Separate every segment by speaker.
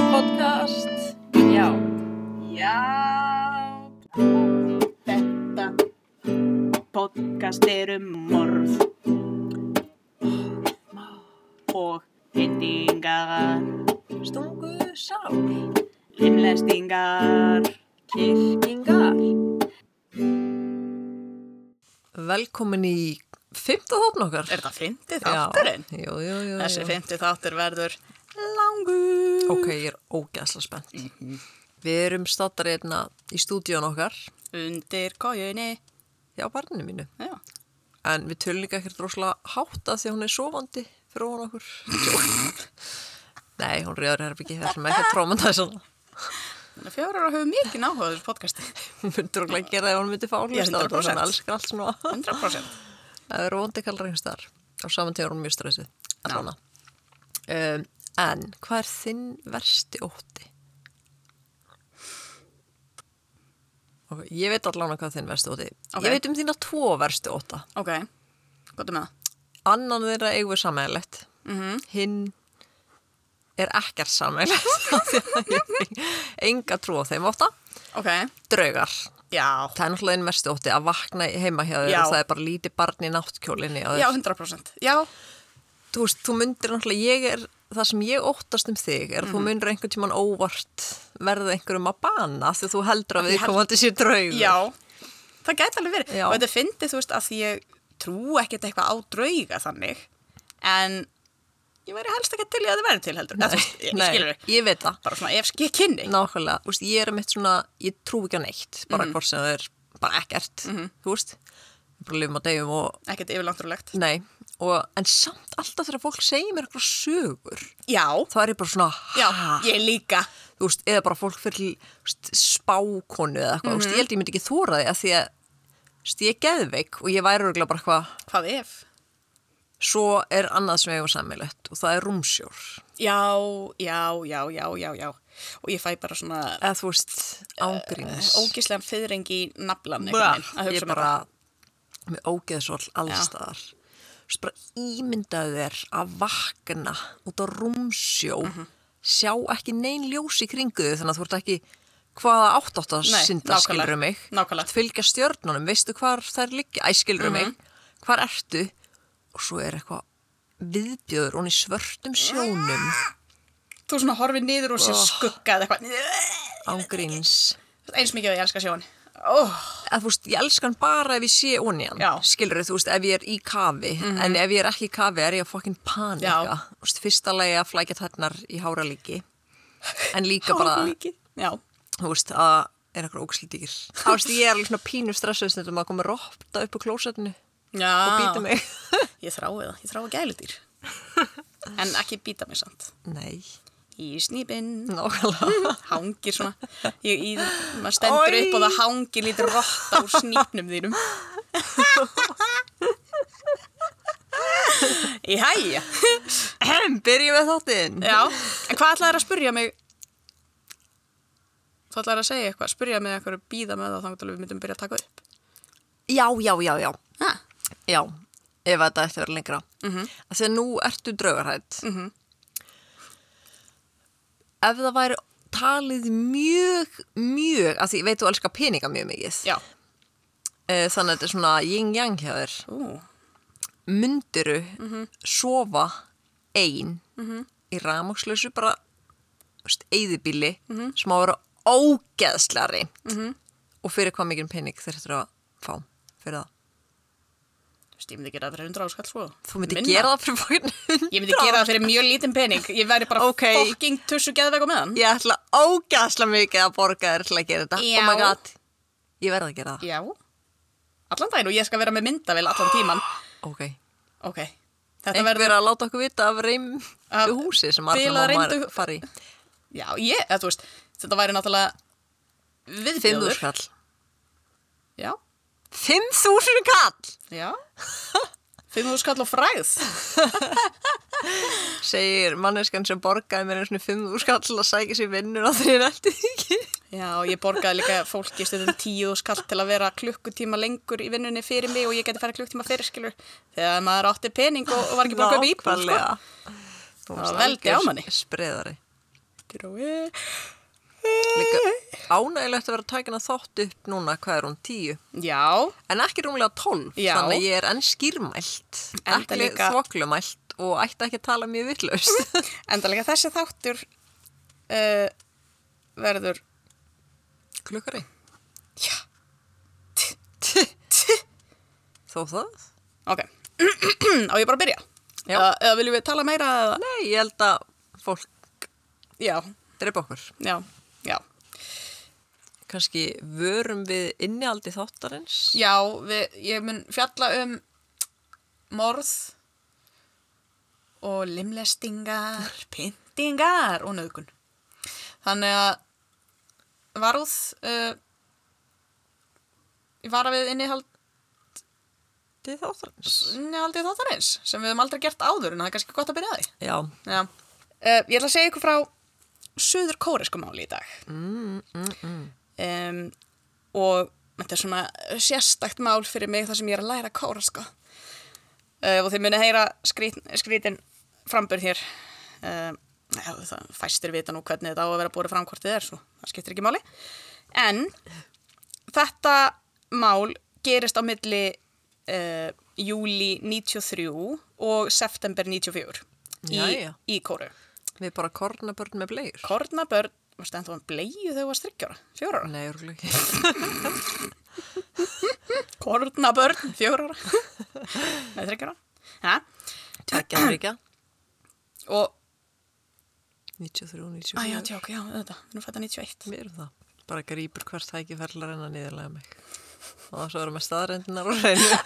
Speaker 1: podcast Já Já Þetta podcast er um morð og hendingar stungu sál limlestingar kirkingar
Speaker 2: Velkomin í fymta þóttn okkar.
Speaker 1: Er þetta fyndið þátturinn?
Speaker 2: Já, jú, jú, jú.
Speaker 1: Þessi fyndið þáttur verður langur
Speaker 2: Ok, ég er ógæsla spennt.
Speaker 1: Mhm.
Speaker 2: Við erum stattar einna í stúdíón okkar,
Speaker 1: Undir kójunni
Speaker 2: já, barninu mínu.
Speaker 1: Já
Speaker 2: En við tölum líka ekkert rosalega hátta því að hún er sofandi fyrir ofan okkur. Nei, hún reyður herbyggi, það ætlum ekki að tróma það svona.
Speaker 1: Þannig að Fjórar og hefur mikið náhuga þessu podcasti.
Speaker 2: Hún myndur okkur að gera það ef hún myndi fá hún.
Speaker 1: Já, 100%.
Speaker 2: Hún elskar allt svona.
Speaker 1: 100%.
Speaker 2: Það eru vondi kallar einhvers þar. Á saman tíma er hún mjög stressið. Allana. Um, en hvað er þinn versti ótti? Okay, ég veit allan hvað þinn versti ótti.
Speaker 1: Ok.
Speaker 2: Ég veit um þína tvo versti ótta.
Speaker 1: Ok, gott er með það.
Speaker 2: Annan þeirra eigum við samæðilegt. Mm
Speaker 1: Mhm.
Speaker 2: -hmm. Hinn er ekkert samæðilegt. Enga trú á þeim ótta.
Speaker 1: Ok,
Speaker 2: Draugar.
Speaker 1: já,
Speaker 2: Það er náttúrulega einn versti ótti að vakna heima hjá þér
Speaker 1: Já.
Speaker 2: og það er bara lítið barn í náttkjólinni og
Speaker 1: já, 100%. Já,
Speaker 2: þú veist, þú myndir náttúrulega, ég er, það sem ég óttast um þig er að
Speaker 1: Mhm.
Speaker 2: þú myndir einhvern tíman óvart verða einhverjum að bana því að þú heldur að
Speaker 1: Ég
Speaker 2: við
Speaker 1: held-
Speaker 2: komandi sér draugur.
Speaker 1: já, það gæti alveg verið.
Speaker 2: Já.
Speaker 1: Og þetta fyndi, þú veist, að því ég trú ekkert eitthvað á drauga þannig, en ég væri helst ekki til í að það væri til heldur. Nei, veist, ég,
Speaker 2: Nei,
Speaker 1: skilur við,
Speaker 2: ég veit það.
Speaker 1: bara svona ef ég kynni.
Speaker 2: Nákvæmlega, þú veist, ég er mitt svona, ég trú ekki á neitt, bara
Speaker 1: Mhm.
Speaker 2: hvort sem það er bara ekkert, þú veist, ég bara lifum á degum og,
Speaker 1: Ekkert yfirlandurlegt.
Speaker 2: nei, og, en samt alltaf þegar fólk segir mér eitthvað sögur,
Speaker 1: Já,
Speaker 2: þá er ég bara svona,
Speaker 1: já,
Speaker 2: ha,
Speaker 1: ég líka.
Speaker 2: þú veist, eða bara fólk fyrir þú veist, spákonu eða eitthvað, þú veist, ég held ég myndi ekki þóra því að því að þú veist, ég er geðveik og ég væri örgulega bara eitthvað,
Speaker 1: Hvað ef?
Speaker 2: svo er annað sem við hefum sammeilett og það er rúmsjór
Speaker 1: Já, já, já, já, já, já. Og ég fæ bara svona
Speaker 2: eða þú veist, ángríns
Speaker 1: ógíslegan fyrring í naflan. einhvern veginn, að
Speaker 2: ég
Speaker 1: hugsa
Speaker 2: er
Speaker 1: um
Speaker 2: bara með ógeðsvall
Speaker 1: Já.
Speaker 2: alls staðar þú veist, bara ímyndaðu þér að vakna út á rúmsjó
Speaker 1: Mhm.
Speaker 2: sjá ekki nein ljós í kringu þau þannig að þú ert ekki hvaða átt átt að
Speaker 1: Nei,
Speaker 2: synda
Speaker 1: nákvæmlega,
Speaker 2: skilur mig
Speaker 1: nákvæmlega.
Speaker 2: Þú fylgja stjörnunum, veistu hvar þær liggja æ skilur
Speaker 1: Mhm.
Speaker 2: mig, hvar ertu og svo er eitthvað viðbjöður hún í svörtum sjónum
Speaker 1: þú svona horfið niður og sér
Speaker 2: Oh.
Speaker 1: skugga eða eitthvað,
Speaker 2: ángríns
Speaker 1: eins mikið og ég elska sjón oh,
Speaker 2: að þú veist, ég elska hann bara ef ég sé onni hann,
Speaker 1: Já.
Speaker 2: skilur þú veist, ef ég er í kafi, en ef ég er ekki í kafi er ég að fokkin panika,
Speaker 1: Já.
Speaker 2: sko. þú veist, fyrsta lagi að flækja tætnar í háralíki, en líka bara,
Speaker 1: já,
Speaker 2: þú veist, að er eitthvað ógslítýr, þá veist, ég er alveg svona pínu stressuð stundum að koma ropta upp úr klósetinu
Speaker 1: já.
Speaker 2: og býta mig,
Speaker 1: ég þrái það, ég þrái gæludýr en ekki býta mig samt
Speaker 2: nei,
Speaker 1: í snýpinn
Speaker 2: nákvæmlega,
Speaker 1: hangir svona ég, í, maður stendur
Speaker 2: Oj.
Speaker 1: upp og það hangir lítur rotta úr snýpnum þínum í hæja
Speaker 2: byrjum við þáttinn,
Speaker 1: já, en hvað ætlaðir að spurja mig þú ætlaðir að segja eitthvað spurja mig eitthvað að býða með það þannig að við myndum byrja að taka upp
Speaker 2: já, já, já, já,
Speaker 1: ha.
Speaker 2: Já, ef að þetta ætti að vera lengra. Mm
Speaker 1: Mhm.
Speaker 2: -hmm. Þegar nú ertu draugarhætt. Ef það væri talið mjög, mjög, af því ég veit þú elskar peninga mjög mikið,
Speaker 1: já
Speaker 2: Eh, þannig að þetta er svona yin-yang hjá þér,
Speaker 1: Ú,
Speaker 2: myndiru
Speaker 1: Mhm.
Speaker 2: sofa ein í ramokslausu bara eðibíli mm
Speaker 1: Mhm.
Speaker 2: -hmm. sem á að vera ógeðslega reynd og fyrir hvað mikið pening þeir þetta að fá fyrir það.
Speaker 1: þú veist, ég myndi gera það fyrir 100 áskall sko.
Speaker 2: Þú myndi gera það fyrir faginn
Speaker 1: Ég myndi gera það fyrir mjög lítinn pening. Ég væri bara
Speaker 2: Ok.
Speaker 1: fucking tussu geðveg á meðan.
Speaker 2: ég ætla ógæðslega mikið að borga þér til að gera þetta.
Speaker 1: Já.
Speaker 2: Oh my god, ég verð að gera það.
Speaker 1: Já. Allan daginn og ég skal vera með myndavél allan tíman.
Speaker 2: Ok.
Speaker 1: Ok. Þetta
Speaker 2: Einhver
Speaker 1: verður...
Speaker 2: að láta okkur vita af reym
Speaker 1: Af
Speaker 2: húsi sem allir
Speaker 1: bilað
Speaker 2: má maður
Speaker 1: reymdu-
Speaker 2: fara í.
Speaker 1: Já, ég, eða, þú veist, þetta væri náttúrulega
Speaker 2: Fimm
Speaker 1: viðbjóður.
Speaker 2: þúsund kall.
Speaker 1: Já,
Speaker 2: Fimm þúsund kall,
Speaker 1: já. Fimm þú skall og fræð.
Speaker 2: segir manneskan sem borgaði mér einu fimm þúsund kall að sækja sér vinnur á því en eftir því ekki.
Speaker 1: Já, og ég borgaði líka fólki stundum tíu skall til að vera klukkutíma lengur í vinnunni fyrir mig og ég geti færa klukkutíma fyrir, skilur. Þegar maður átti pening og, og var ekki búin að kaupa íbúð, sko.
Speaker 2: Nákvæmlega. Þú varst
Speaker 1: veldi á
Speaker 2: algjör
Speaker 1: manni.
Speaker 2: Spreðari.
Speaker 1: Get away
Speaker 2: eh, Líka ánægilegt að vera tækin að þátt upp núna, hvað er hún, tíu?
Speaker 1: Já,
Speaker 2: En ekki rúmlega tólf,
Speaker 1: Já.
Speaker 2: þannig að ég er enn skýrmælt,
Speaker 1: Enda
Speaker 2: ekki
Speaker 1: líka-
Speaker 2: þvoklumælt og ætti ekki að tala mjög vitlaust.
Speaker 1: endalega þessi þáttur uh, verður
Speaker 2: Klukkari,
Speaker 1: Já,
Speaker 2: þó það?
Speaker 1: ok Á ég bara að byrja?
Speaker 2: Já.
Speaker 1: Eða, eða viljum við tala meira eða?
Speaker 2: Nei, ég held að fólk
Speaker 1: Já,
Speaker 2: drepa okkur.
Speaker 1: já, já
Speaker 2: Kanski vörum við innihaldi þáttarins?
Speaker 1: Já, við, ég mun fjalla um morð og limlestingar, pyntingar og nöðgun. Þannig að varúð, uh, ég vara við innihald,
Speaker 2: Til þáttarins?
Speaker 1: innihaldið þáttarins sem við höfum aldrei gert áður en það er kannski gott að byrja á því.
Speaker 2: Já,
Speaker 1: Já. Uh, ég ætla að segja ykkur frá söður kóresku máli í dag. Mm, mm, mm. Um, og þetta er svona sérstakt mál fyrir mig þar sem ég er að læra kóreska. Uh, og þið muni heyra skrít, skrítin frambur hér. Uh, já, það fæstir vita nú hvernig þetta á að vera búið fram hvort þið er, svo það skiptir ekki máli. En þetta mál gerist á milli uh, júli 93 og september 94 í,
Speaker 2: Jæja.
Speaker 1: í kóru.
Speaker 2: við bara kornabörn með blegur.
Speaker 1: Kornabörn, varstu ennþá um bleiðu þegar þú varst þryggjóra, fjóra ára?
Speaker 2: Nei, örgulega ekki.
Speaker 1: Kornabörn, fjóra ára. Nei, þryggjóra. Ja.
Speaker 2: Tveggja ára ekki?
Speaker 1: Og,
Speaker 2: 93,
Speaker 1: aðja,
Speaker 2: 94.
Speaker 1: tjók, já, þetta, nú fætta 91.
Speaker 2: Mér um það. Bara grýpur hvert tækifærlar en að niðurlega mig. Og svo erum við staðrendinar og reynu.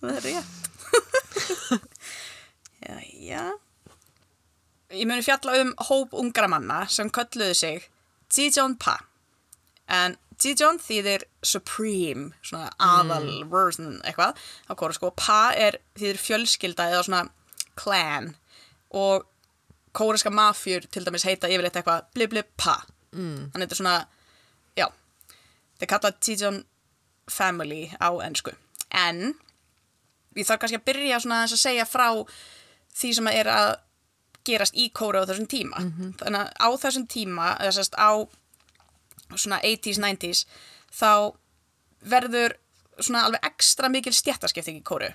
Speaker 1: Það er rétt. Jæja. Ég muni fjalla um hóp ungra manna sem kölluðu sig Jijon Pa. En Jijon þýðir Supreme, svona aðal version eitthvað. Á kóra sko, Pa er þýðir fjölskylda eða svona clan og kóreska mafjur til dæmis heita yfirleitt eitthvað blib blib pa. Mm. Þannig þetta er svona, já, þetta er kallað Jijon Family á ennsku. En ég þarf kannski að byrja svona aðeins að segja frá því sem er að gerast í kóru á þessum tíma þannig að á þessum tíma eða sérst á svona 80s, 90s þá verður svona alveg ekstra mikil stjættaskipting í kóru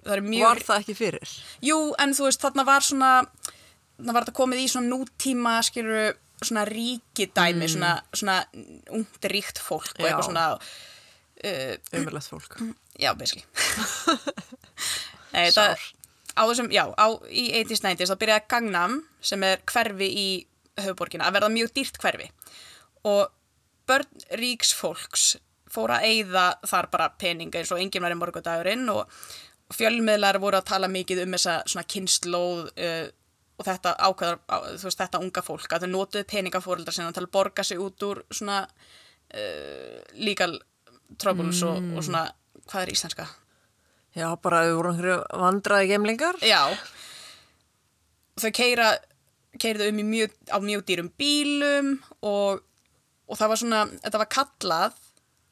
Speaker 1: það er mjög
Speaker 2: Var það ekki fyrir?
Speaker 1: Jú, en þú veist, þarna var svona þarna var þetta komið í svona nútíma skilur, svona ríkidæmi svona, svona ungt ríkt fólk og
Speaker 2: Já.
Speaker 1: eitthvað svona
Speaker 2: Umverlegt fólk.
Speaker 1: Já, basically Nei, þetta
Speaker 2: Sár.
Speaker 1: á þessum, já, á, í 80s, 90s þá byrjaði Gangnam sem er hverfi í höfuborgina að verða mjög dýrt hverfi og börn ríks fólks fór að eyða þar bara peninga eins og enginn var í morgundagurinn og fjölmiðlar voru að tala mikið um þessa svona kynnslóð uh, og þetta ákveðar, á- þú veist, þetta unga fólk að þau notuðu peningafóreldra sinna til að borga sig út úr svona uh, legal troubles og, og svona, hvað er íslenska?
Speaker 2: Já, bara við vorum einhverju vandraði gemlingar.
Speaker 1: Já Þau keira keirðu um í mjög, á mjög dýrum bílum og, og það var svona þetta var kallað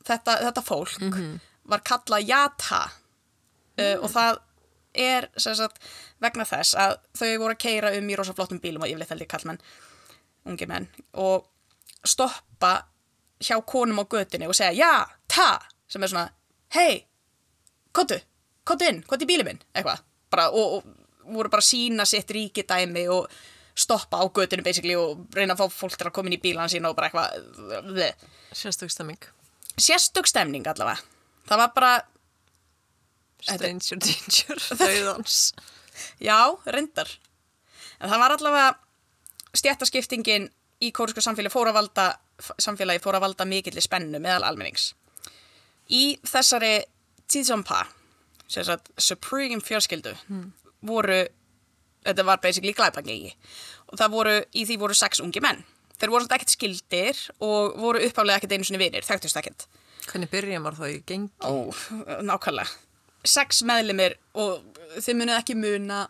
Speaker 1: þetta, þetta fólk var kallað jata uh, og það er sem sagt, vegna þess að þau voru að keira um í rosaflottum bílum og yfirleitt held ég kallmenn ungi menn og stoppa hjá konum á götunni og segja ja, ta sem er svona, hei, kottu, kottu inn, kottu í bílið minn, eitthvað. Bara, og, og voru bara að sína sitt ríkidæmi og stoppa á götunum basically og reyna að fá fólk til að koma inn í bílan sína og bara eitthvað. bleh.
Speaker 2: Sérstök stemming.
Speaker 1: Sérstök stemning allavega. Það var bara,
Speaker 2: Stranger danger. Dauðans.
Speaker 1: já, reyndar. En það var allavega stjættaskiptingin í kórsku samfélagi fór að valda, samfélagi fór að valda mikilli spennu meðal almennings. Í þessari Tizompa, sem sagt Supreme fjörskildu, voru, þetta var basically glæpagegi, og það voru, í því voru sex ungi menn. Þeir voru svona ekkert skildir og voru uppálega ekkert einu sinni vinir, þekktust ekkert.
Speaker 2: Hvernig byrja maður þá í geng?
Speaker 1: Ó, nákvæmlega. Sex meðlimir og þið munið ekki muna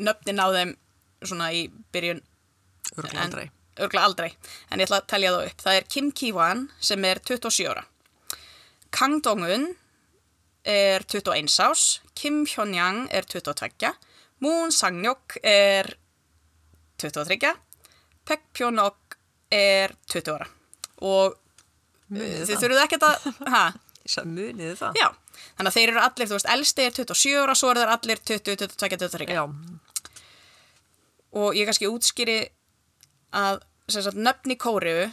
Speaker 1: nöfnin á þeim svona í byrjun
Speaker 2: Örgulega aldrei.
Speaker 1: Örgla aldrei. En ég ætla að telja þá upp. Það er Kim Ki-wan sem er 27 ára. Kang Dong-un er 21 ás. Kim Hyun-yang er 22. Moon Sang-nyok er 23 Pek Pjónok er 20 ára og eh,
Speaker 2: Munið
Speaker 1: þið
Speaker 2: það.
Speaker 1: þurfuð ekkert að ha,
Speaker 2: Ég sagði munið þið það.
Speaker 1: já, þannig að þeir eru allir, þú veist, elsti er 27 ára, svo eru þeir allir 20, 22, 23
Speaker 2: Já,
Speaker 1: og ég kannski útskýri að sem sagt, nöfn í kóriðu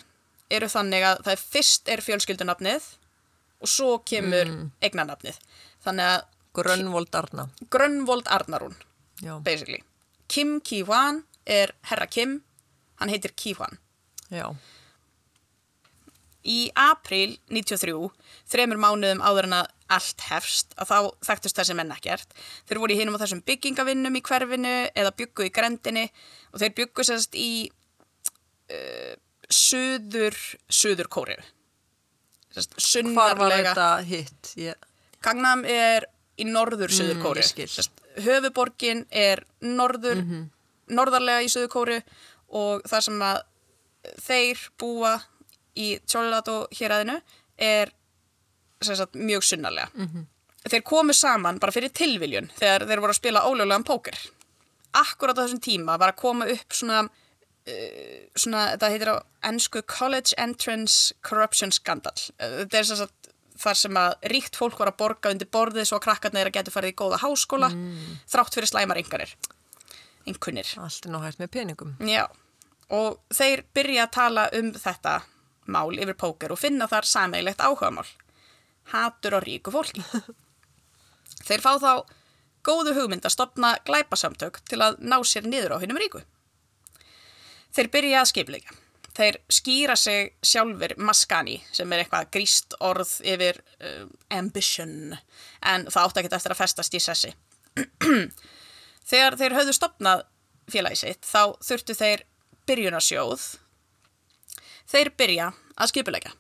Speaker 1: eru þannig að það er fyrst er fjölskyldunafnið og svo kemur mm. eignanafnið þannig að
Speaker 2: Grönvold Arna.
Speaker 1: Grönvold Arnarún
Speaker 2: Já,
Speaker 1: basically. Kim Ki-hwan er herra Kim, hann heitir Ki-hwan
Speaker 2: já.
Speaker 1: í apríl 93, þremur mánuðum áður en að allt hefst, að þá þekktust þessi menn ekkert. Þeir voru í hinum á þessum byggingavinnum í hverfinu eða byggu í grendinni og þeir byggu sérst í uh, suður, suður kóriðu. Sérst,
Speaker 2: Hvar var
Speaker 1: sunnarlega.
Speaker 2: þetta hitt? Ég,
Speaker 1: Gangnam er í norður suður kóru.
Speaker 2: Mm, ég skil. Mhm.
Speaker 1: Höfuborgin er norður, norðarlega í suður kóru og það sem að þeir búa í Tjólato héræðinu er sem sagt, mjög sunnarlega.
Speaker 2: Mhm.
Speaker 1: Þeir komu saman bara fyrir tilviljun þegar þeir voru að spila ólöglegan póker. Akkurat á þessum tíma var að koma upp svona, uh, svona það heitir á ennsku College Entrance Corruption Scandal. Eh, Þetta er sem sagt þar sem að ríkt fólk var að borga undir borðið svo að krakkarna þeirra getur farið í góða háskóla þrátt fyrir slæmar einhverjir. Einhvernir.
Speaker 2: allt er nú hægt með peningum.
Speaker 1: Já, og þeir byrja að tala um þetta mál yfir póker og finna þar sameigilegt áhugamál. Hatur á ríku fólki. þeir fá þá góðu hugmynd að stopna glæpasamtök til að ná sér niður á hinnum ríku. Þeir byrja að skipleika. Þeir skýra sig sjálfur maskani sem er eitthvað gríst orð yfir uh, ambition en það átti ekkert eftir að festast í sessi þegar þeir höfðu stopnað félagi sitt þá þurftu þeir byrjunarsjóð þeir byrja að skipuleika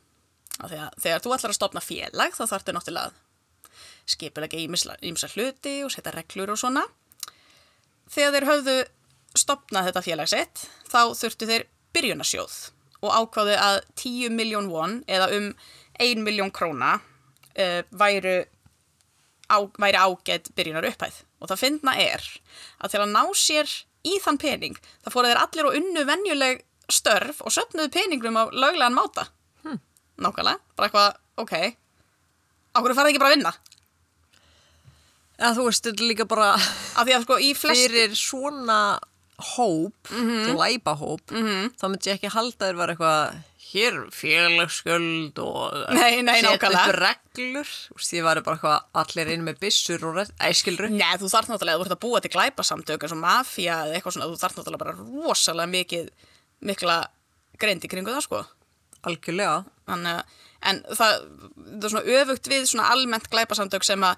Speaker 1: Af því að þegar þú ætlar að stopna félag þá þarftu náttúrulega að skipuleika ímsa hluti og setja reglur og svona þegar þeir höfðu stopnað þetta félag sitt þá þurftu þeir byrjunarsjóð og ákváðu að 10 miljón won eða um 1 miljón króna uh, væru á, væri ágætt byrjunar upphæð og það fyndna er að til að ná sér í þann pening það fóru þeir allir og unnu venjuleg störf og söfnuðu peningum á löglegan máta hmm. nákvæmlega, bara eitthvað, ok á hverju farið ekki bara að vinna af
Speaker 2: Eða þú veist, þetta er líka bara
Speaker 1: því að sko í flest Mhm.
Speaker 2: fyrir svona hóp, mm glæpahóp, þá myndi ég ekki halda þér var eitthvað hér félagsgjöld og
Speaker 1: Nei, nei,
Speaker 2: setja
Speaker 1: nákvæmlega.
Speaker 2: upp reglur. Þú veist, ég var bara eitthvað allir inn með byssur og æskilru.
Speaker 1: Nei, þú þarf náttúrulega, þú ert að búa til glæpasamtök eins og mafía eða eitthvað svona, þú þarf náttúrulega bara rosalega mikið, mikla greind í kringu það sko.
Speaker 2: Algjörlega.
Speaker 1: þannig að, en það, það er svona öfugt við svona almennt glæpasamtök sem að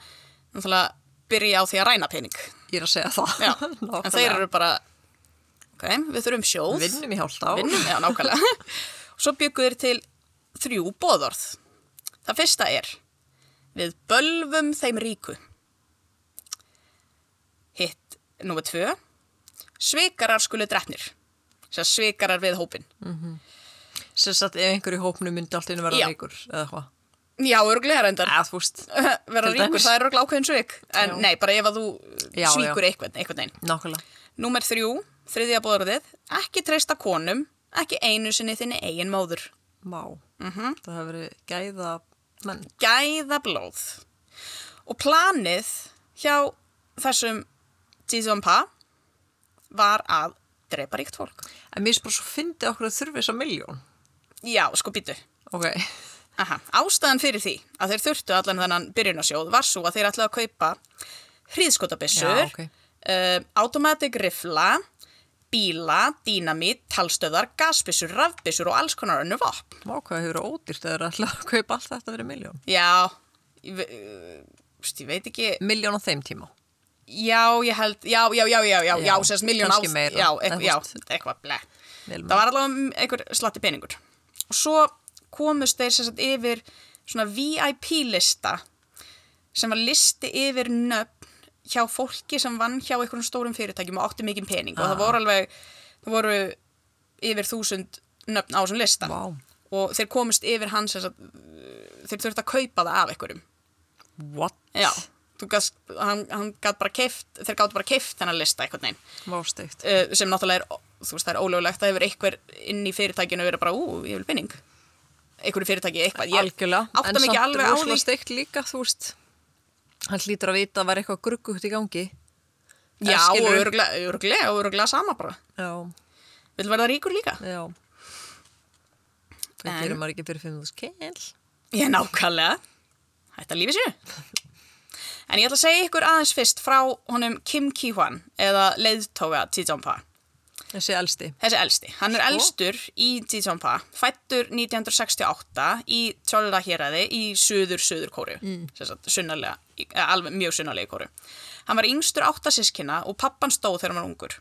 Speaker 1: náttúrulega byrja á því að ræna pening
Speaker 2: Ég er að segja það.
Speaker 1: já,
Speaker 2: Nákvæmlega.
Speaker 1: en þeir eru bara ok, við þurfum sjóð
Speaker 2: Vinnum í hálft á.
Speaker 1: vinnum, já, nákvæmlega og svo byggu þeir til þrjú bóðorð það fyrsta er við bölvum þeim ríku hitt númer tvö svikarar skulu drefnir svikarar við hópin
Speaker 2: Sem sagt, ef einhver í hópnu myndi allt inn að vera
Speaker 1: Já.
Speaker 2: ríkur eða hvað.
Speaker 1: já, örglega reyndar
Speaker 2: Eða þú veist,
Speaker 1: vera
Speaker 2: Til
Speaker 1: ríkur,
Speaker 2: dæmis.
Speaker 1: það er örugglega ákveðin svik en nei, bara ef að þú
Speaker 2: Já,
Speaker 1: svíkur einhvern, einhvern veginn.
Speaker 2: nákvæmlega.
Speaker 1: Númer þrjú, þriðja bóðurðið ekki treysta konum, ekki einu sinni þinni eigin móður.
Speaker 2: Má.
Speaker 1: Mhm.
Speaker 2: Það hefur verið gæða menn.
Speaker 1: Gæða blóð og planið hjá þessum Jizon Pa var að drepa ríkt fólk.
Speaker 2: En mér er bara svo fyndið okkur að þurfi þessa miljón.
Speaker 1: Já, sko býtu
Speaker 2: Ok.
Speaker 1: Aha. Ástæðan fyrir því að þeir þurftu allan þennan byrjunarsjóð var svo að þeir ætlaði að kaupa hríðskotabissur,
Speaker 2: Já, ok.
Speaker 1: eh, automatic rifla, bíla, dínamít, talstöðar, gasbissur, rafbissur og alls konar önnu vopn.
Speaker 2: Má hvað hefur verið ódýrt að það er alltaf að kaupa allt þetta fyrir miljón.
Speaker 1: Já, ég, ve- eh, veist, ég veit ekki,
Speaker 2: Miljón á þeim tíma.
Speaker 1: já, ég held, já, já, já, já, já, já,
Speaker 2: Já,
Speaker 1: já sérst miljón á,
Speaker 2: kannski meira,
Speaker 1: já,
Speaker 2: eða
Speaker 1: eitthvað,
Speaker 2: þú
Speaker 1: já,
Speaker 2: veist.
Speaker 1: eitthvað, bleh.
Speaker 2: Vel
Speaker 1: það
Speaker 2: með.
Speaker 1: var allavega um einhver slatti peningur og svo komust þeir sem sagt yfir svona VIP lista sem var listi yfir nöfn hjá fólki sem vann hjá einhverjum stórum fyrirtækjum og átti mikinn pening
Speaker 2: Ah.
Speaker 1: og það voru alveg það voru yfir þúsund nöfn á þessum lista
Speaker 2: Vá.
Speaker 1: og þeir komust yfir hans þeir þurfti að kaupa það af einhverjum
Speaker 2: What?
Speaker 1: Já, þú gast, hann, hann gat bara keift, þeir gátt bara keift þennan lista einhvern veginn
Speaker 2: vásteikt.
Speaker 1: uh, sem náttúrulega er, þú veist, það er ólögulegt það hefur einhver inn í fyrirtækinu verið bara, ú, ég vil pinning einhverju fyrirtæki, eitthvað, ég
Speaker 2: Algjörlega,
Speaker 1: átta mikið alveg
Speaker 2: En
Speaker 1: á
Speaker 2: samt
Speaker 1: því
Speaker 2: rosalega steikt líka, þú veist Hann hlýtur að vita að var eitthvað gruggugt í gangi
Speaker 1: já,
Speaker 2: Eh,
Speaker 1: og
Speaker 2: skilurðu?
Speaker 1: öruglega, öruglega, öruglega sama bara
Speaker 2: Já,
Speaker 1: vil verða ríkur líka
Speaker 2: já Það
Speaker 1: En-
Speaker 2: gerir maður ekki fyrir 5.000 kell
Speaker 1: ég er nákvæmlega, hætta lífið sér en ég ætla að segja ykkur aðeins fyrst frá honum Kim Ki-hwan eða leiðtóga Tijongpa
Speaker 2: Þessi elsti
Speaker 1: Þessi elsti, hann er
Speaker 2: Sko?
Speaker 1: elstur í Tijongpa, fættur 1968 í Tjólda héræði í söður söður kóru, mm. sunnalega, eða eh, alveg mjög sunnalega kóru. Hann var yngstur átta sískina og pappan stóð þegar hann var ungur.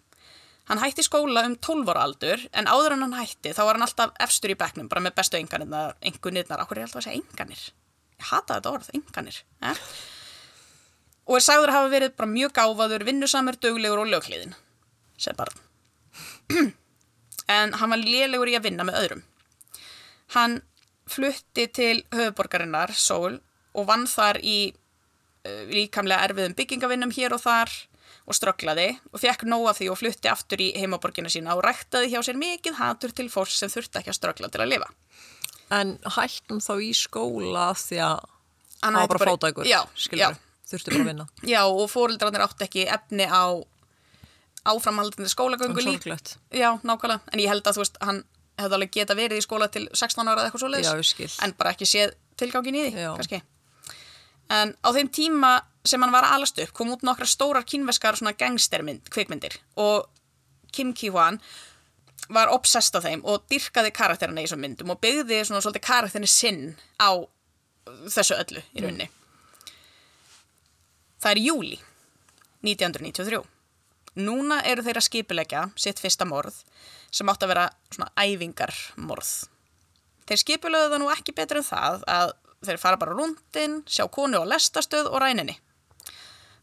Speaker 1: Hann hætti skóla um 12 ára aldur en áður en hann hætti þá var hann alltaf efstur í bekknum bara með bestu enganirnar, engunirnar, okkur er alltaf að segja enganir. Ég hata þetta orð, enganir. Eh? Og er sagður að hafa verið bara mjög gáfaður, vinnusamur, duglegur og lögkliðin, sem barn en hann var lélegur í að vinna með öðrum. Hann flutti til höfuborgarinnar, Sól, og vann þar í uh, líkamlega erfiðum byggingavinnum hér og þar og strögglaði og fekk nóg af því og flutti aftur í heimaborgina sína og ræktaði hjá sér mikið hatur til fólks sem þurfti ekki að ströggla til að lifa.
Speaker 2: En hættum þá í skóla af því að
Speaker 1: Hann
Speaker 2: hann var bara
Speaker 1: hætti bara-
Speaker 2: fátækur
Speaker 1: Já, já.
Speaker 2: skilurðu. Þurfti bara að vinna
Speaker 1: Já, og fóreldrarnir átti ekki efni á áframhaldandi skólagöngu
Speaker 2: En
Speaker 1: lík.
Speaker 2: sorglegt.
Speaker 1: Já, nákvæmlega. En ég held að þú veist, hann hefði alveg geta verið í skóla til 16 ára eða eitthvað svo
Speaker 2: Já, ég skil
Speaker 1: en bara ekki séð tilgangin í því,
Speaker 2: Já.
Speaker 1: kannski. En á þeim tíma sem hann var að alast upp kom út nokkra stórar kínveskar svona gangstermynd, kvikmyndir og Kim Ki-hwan var obsessed á þeim og dyrkaði karakterina í þessum myndum og byggði svona svolítið karakterinu sinn á þessu öllu í rauninni. Það er júli 1993. Núna eru þeir að skipulegja sitt fyrsta morð sem átt að vera svona æfingarmorð Þeir skipulöðu það nú ekki betur en það að þeir fara bara rúndin, sjá konu á lestastöð og ræninni.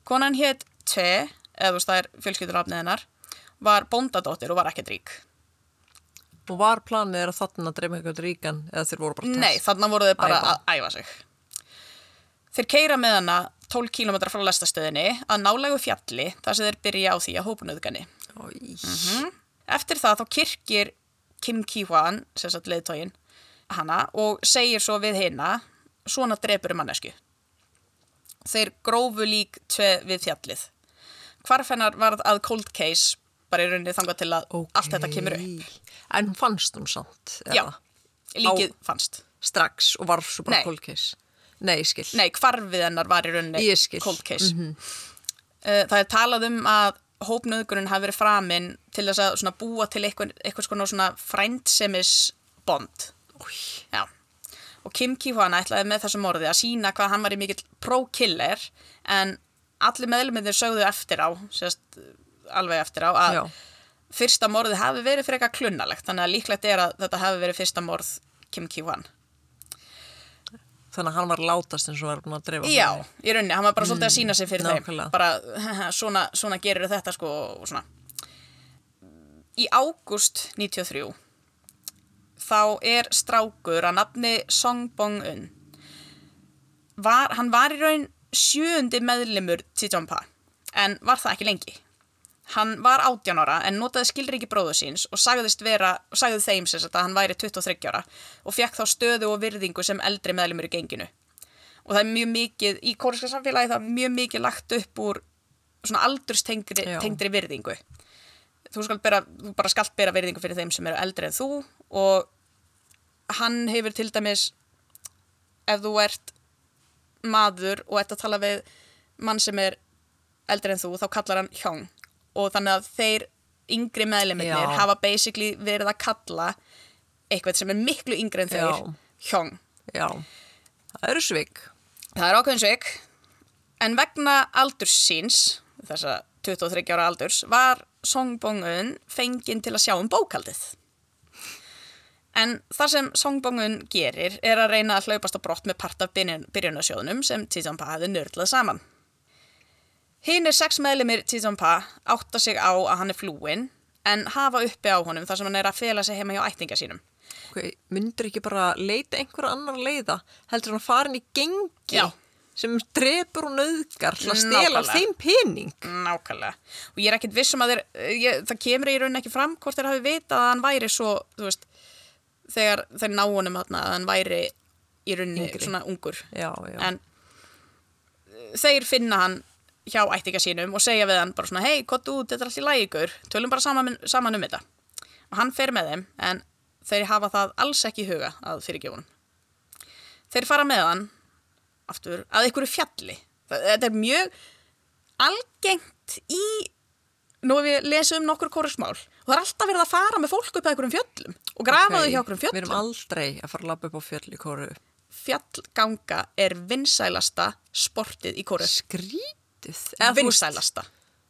Speaker 1: Konan hétt Te, eða þú veist það er fjölskyldurafnið hennar, var bóndadóttir og var ekkert rík.
Speaker 2: Og var planið er að þarna dreima eitthvað ríkan eða þeir voru bara að
Speaker 1: Nei,
Speaker 2: testa?
Speaker 1: þannig voru þeir bara
Speaker 2: Æfa.
Speaker 1: að æfa sig. Þeir keira með hana 12 km frá lestastöðinni að nálægu fjalli þar sem þeir byrja á því að hópunauðgani.
Speaker 2: Í.
Speaker 1: Mhm. Eftir það þá kirkir Kim Ki-hwan, sem sagt leiðtógin, hana og segir svo við hina, svona drepur mannesku. Þeir grófu lík tve við fjallið. Hvarf hennar varð að cold case, bara í rauninni þangað til að allt þetta kemur upp.
Speaker 2: En hún fannst hún samt? eða?
Speaker 1: Já, líkið fannst.
Speaker 2: Strax og var svo bara
Speaker 1: Nei.
Speaker 2: cold case? Nei, ég skil.
Speaker 1: Nei, hvarfið hennar var í rauninni
Speaker 2: Ég skil.
Speaker 1: cold case. Uh, Það er talað um að hópnöðgunin hafi verið framinn til þess að svona búa til eitthvað, eitthvað skona svona frændsemis bond.
Speaker 2: Új,
Speaker 1: Já. Og Kim Ki-hwan ætlaði með þessum orði að sína hvað hann var í mikill pro-killer en allir meðlumindir sögðu eftir á, sérst, alveg eftir á, að
Speaker 2: Já.
Speaker 1: fyrsta morði hafi verið fyrir eitthvað klunnalegt þannig að líklegt er að þetta hafi verið fyrsta morð Kim Ki-hwan.
Speaker 2: Þannig að hann var látast eins og var búin að dreifa
Speaker 1: Já,
Speaker 2: honum.
Speaker 1: í rauninni, hann var bara svolítið að sína sig fyrir
Speaker 2: nákvæmlega.
Speaker 1: þeim bara svona, svona gerir þetta sko og svona Í ágúst 93 þá er strákur að nafni Song Bong-un var, hann var í raun sjöundi meðlimur Tijompa en var það ekki lengi Hann var 18 ára en notaði skilriki bróðu síns og sagðist vera, og sagði þeim sem sagt að hann væri 23 ára og fekk þá stöðu og virðingu sem eldri meðlumur í genginu. Og það er mjög mikið, í kóreska samfélagi það er mjög mikið lagt upp úr svona aldurstengri
Speaker 2: Já.
Speaker 1: tengdri virðingu. Þú, skal bera, þú bara skalt bera virðingu fyrir þeim sem eru eldri en þú og hann hefur til dæmis, ef þú ert maður og ert að tala við mann sem er eldri en þú, þá kallar hann hjóng og þannig að þeir yngri meðleminir
Speaker 2: Já.
Speaker 1: hafa basically verið að kalla eitthvað sem er miklu yngri en þeir
Speaker 2: Já.
Speaker 1: hjóng.
Speaker 2: Já. Það eru svik.
Speaker 1: Það er ákveðin sveik en vegna aldurs síns þessa 23 ára aldurs var Song Bong-un fenginn til að sjá um bókaldið en það sem Song Bong-un gerir er að reyna að hlaupast á brott með part af byrjun- byrjunarsjóðunum sem Tijampa hafði nörlað saman Hinn er sex meðlimir Tijampa átta sig á að hann er flúinn en hafa uppi á honum þar sem hann er að fela sig heima hjá ættinga sínum
Speaker 2: Okay. Myndur ekki bara leita einhverja annar leiða heldur hann farin í gengi
Speaker 1: Já.
Speaker 2: sem drepur og nauðgar til að stela af
Speaker 1: Nákvæmlega.
Speaker 2: þeim pening
Speaker 1: nákvæmlega og ég er ekkit viss um að þeir, ég, það kemur í raun ekki fram hvort þeir hafi vitað að hann væri svo þú veist, þegar þeir ná honum þarna að hann væri í rauninni
Speaker 2: Yngri.
Speaker 1: svona ungur
Speaker 2: já, já,
Speaker 1: en uh, þeir finna hann hjá ættinga sínum og segja við hann bara svona hei, kottu út, þetta er allir lægur tölum bara saman, saman um þetta og hann fer með þeim en þeir hafa það alls ekki í huga að fyrirgjóðunum þeir fara með hann aftur að einhverju fjalli Það- þetta er mjög algengt í nú ef ég lesi um nokkur kórusmál og það er alltaf verið að fara með fólk upp að einhverjum fjöllum og grafaðu hjá um einhverjum
Speaker 2: við
Speaker 1: fjöllum
Speaker 2: erum aldrei að fara að labba upp á fjöll í kóru
Speaker 1: fjallganga er vinsælasta sportið í kóru.
Speaker 2: skrítið þú veist,
Speaker 1: Vinsælasta.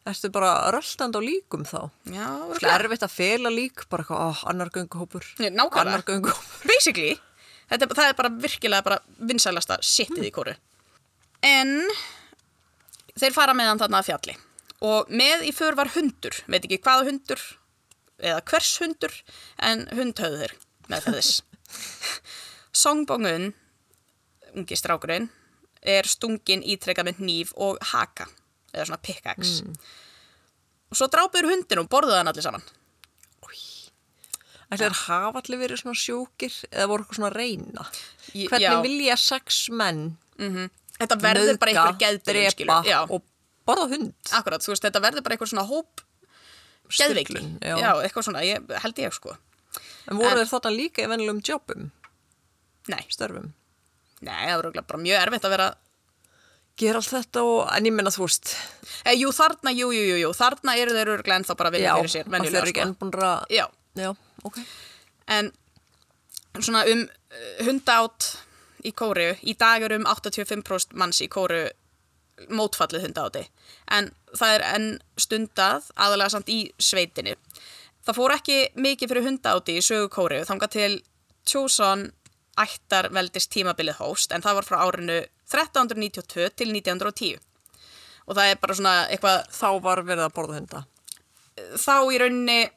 Speaker 2: ertu bara röltand á líkum þá
Speaker 1: Já,
Speaker 2: Svo erfitt að fela lík bara eitthvað, oh, annar gönguhópur
Speaker 1: Já, nákvæmlega.
Speaker 2: annar gönguhópur
Speaker 1: basically, þetta, það er bara virkilega bara vinsælasta shitið í kóru. En þeir fara með hann þarna að fjalli og með í för var hundur, veit ekki hvaða hundur eða hvers hundur en hund höfðu þeir með þess. Songbongun, ungi strákurinn, er stungin ítrekka með hníf og haka eða svona pickaxe.
Speaker 2: Mm.
Speaker 1: Og svo drápuður hundin og borðuðu hann allir saman.
Speaker 2: Ætli þeir hafa allir verið svona sjúkir eða voru eitthvað svona að reyna
Speaker 1: Ég-
Speaker 2: Hvernig
Speaker 1: já.
Speaker 2: vilja sex menn
Speaker 1: Mhm. Þetta verður bara
Speaker 2: nauðga,
Speaker 1: einhver geðbyrjum,
Speaker 2: drepa
Speaker 1: skilur. Já.
Speaker 2: og borða hund
Speaker 1: Akkurat, þú veist, þetta verður bara einhver svona hóp geðveiki.
Speaker 2: Sturlun,
Speaker 1: Já.
Speaker 2: já.
Speaker 1: eitthvað svona, ég, held ég sko.
Speaker 2: En voru
Speaker 1: En-
Speaker 2: þeir þarna líka í vennilegum jobbum,
Speaker 1: Nei,
Speaker 2: störfum
Speaker 1: nei, það verður örugglega bara mjög erfitt að vera
Speaker 2: Gera allt þetta og, en ég menna þú veist
Speaker 1: e, Jú, þarna, jú, jú, jú, jú, þarna eru þeir örglega ennþá bara að
Speaker 2: Já,
Speaker 1: vinna fyrir
Speaker 2: að
Speaker 1: sér,
Speaker 2: þeir
Speaker 1: venjulega
Speaker 2: eru ekki
Speaker 1: sko.
Speaker 2: enn búin að
Speaker 1: Já,
Speaker 2: Já, ok
Speaker 1: en svona um hunda átt í kóru, í dag eru um 85% manns í kóru mótfallið hunda átti, en það er enn stundað aðalega samt í sveitinni. Það fór ekki mikið fyrir hunda átti í sögu kóru þangað til Tjóson ættar veldist tímabilið hóst en það var frá árinu 1392 til 1910 og það er bara svona eitthvað
Speaker 2: Þá var verið að borða hunda
Speaker 1: þá í rauninni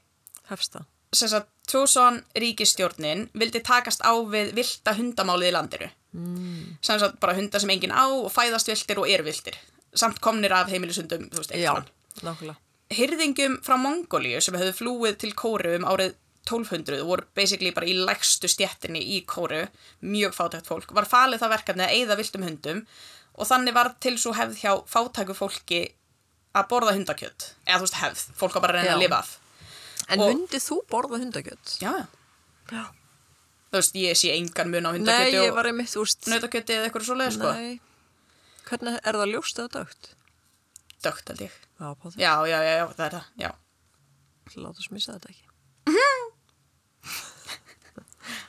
Speaker 2: Hefsta
Speaker 1: sem sagt, Tjóson ríkistjórnin vildi takast á við vilda hundamálið í landinu. Mm. Sem sagt, bara hundar sem enginn á og fæðast viltir og eru viltir. Samt komnir af heimilisundum, þú veist,
Speaker 2: Já,
Speaker 1: eitthvað.
Speaker 2: nákvæmlega
Speaker 1: Hyrðingum frá Mongóliu sem hefðu flúið til Kóru um árið 1200 og voru basically bara í lægstu stjettinni í Kóru, mjög fátækt fólk, var falið það verkefni að eyða viltum hundum og þannig var til svo hefð hjá fátæku fólki að borða hundakjöt. Eða þú veist, hefð, fólk var bara að reyna
Speaker 2: Já.
Speaker 1: að lifa af.
Speaker 2: En
Speaker 1: Og-
Speaker 2: og... myndið þú borða hundakjöt?
Speaker 1: Já, já.
Speaker 2: Já
Speaker 1: þú veist, ég sé engan mun á
Speaker 2: Nei,
Speaker 1: hundakjöti
Speaker 2: ég
Speaker 1: og
Speaker 2: var einmitt, þú veist
Speaker 1: nautakjöti eða eitthvað svoleið, sko.
Speaker 2: Nei, hvernig er það ljóst eða dögt?
Speaker 1: Dögt held ég.
Speaker 2: Já, pá því,
Speaker 1: Já, já, já, já, það er það, já.
Speaker 2: láta oss missa þetta ekki.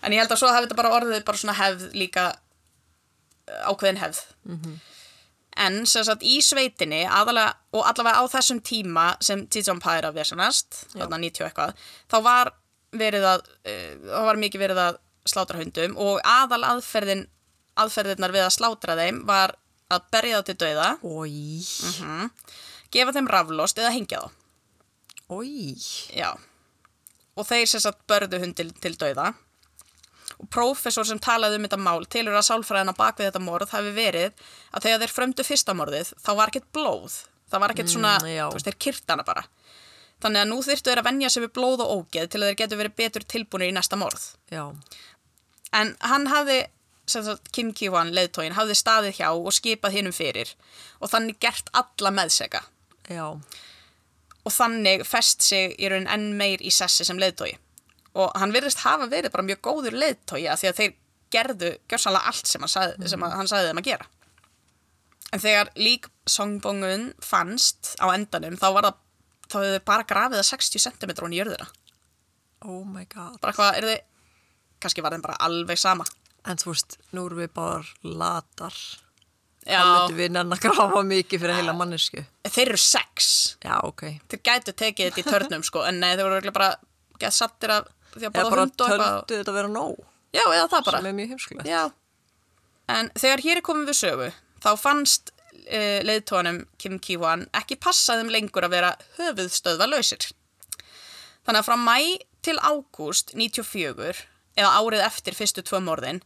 Speaker 1: En ég held að svo hafi þetta bara orðið bara svona hefð líka eh, ákveðin hefð.
Speaker 2: Mhm.
Speaker 1: En sem sagt í sveitinni aðalega, og allavega á þessum tíma sem Tzitsompa er að vesanast, þarna 90 og eitthvað, þá var verið að, uh, þá var mikið verið að slátra hundum og aðal aðferðin, aðferðirnar við að slátra þeim var að berja það til dauða,
Speaker 2: Ói,
Speaker 1: gefa þeim raflost eða hengja þá.
Speaker 2: ói,
Speaker 1: Já. Og þeir sem sagt börðu hundin til dauða. Og prófessor sem talaði um þetta mál tilur að sálfræðina bak við þetta morð hafi verið að þegar þeir frömdu fyrsta morðið þá var ekkert blóð. Það var ekkert svona,
Speaker 2: já.
Speaker 1: þú veist, þeir kyrta hana bara. Þannig að nú þyrftu þeir að venja sig við blóð og ógeð til að þeir getur verið betur tilbúinir í næsta morð.
Speaker 2: já,
Speaker 1: En hann hafði, sem sagt, Kim Ki-hwan, leiðtógin, hafði staðið hjá og skipað hinum fyrir og þannig gert alla meðsega
Speaker 2: já,
Speaker 1: og þannig fest sig í raun enn meir í sessi sem leiðtói og hann virðist hafa verið bara mjög góður leiðtói af því að þeir gerðu gjörsanlega allt sem hann, sag, sem að- hann sagði þeim að gera en þegar lík songbongun fannst á endanum þá var það þá hefur þau bara grafið að 60 cm hún í jörðina
Speaker 2: oh my god.
Speaker 1: bara hvað er þið kannski var þeim bara alveg sama
Speaker 2: En þú veist, nú erum við bara latar.
Speaker 1: Já.
Speaker 2: Það myndum við nenn að grafa mikið fyrir heila mannesku.
Speaker 1: þeir eru sex
Speaker 2: Já, ok.
Speaker 1: þeir gætu tekið þetta í törnum sko en nei þeir voru örugglega bara gett sattir af því að
Speaker 2: Eða
Speaker 1: bara
Speaker 2: bara
Speaker 1: hund og eitthvað
Speaker 2: töldu þetta vera nóg,
Speaker 1: já eða það bara
Speaker 2: sem er mjög heimskulegt.
Speaker 1: Já. En þegar hér er komið við sögu, þá fannst uh, leiðtónum Kim Ki-hwan ekki passaðum lengur að vera höfuðstöðva lausir. Þannig að frá mæ til ágúst 94, eða árið eftir fyrstu tvö morðin,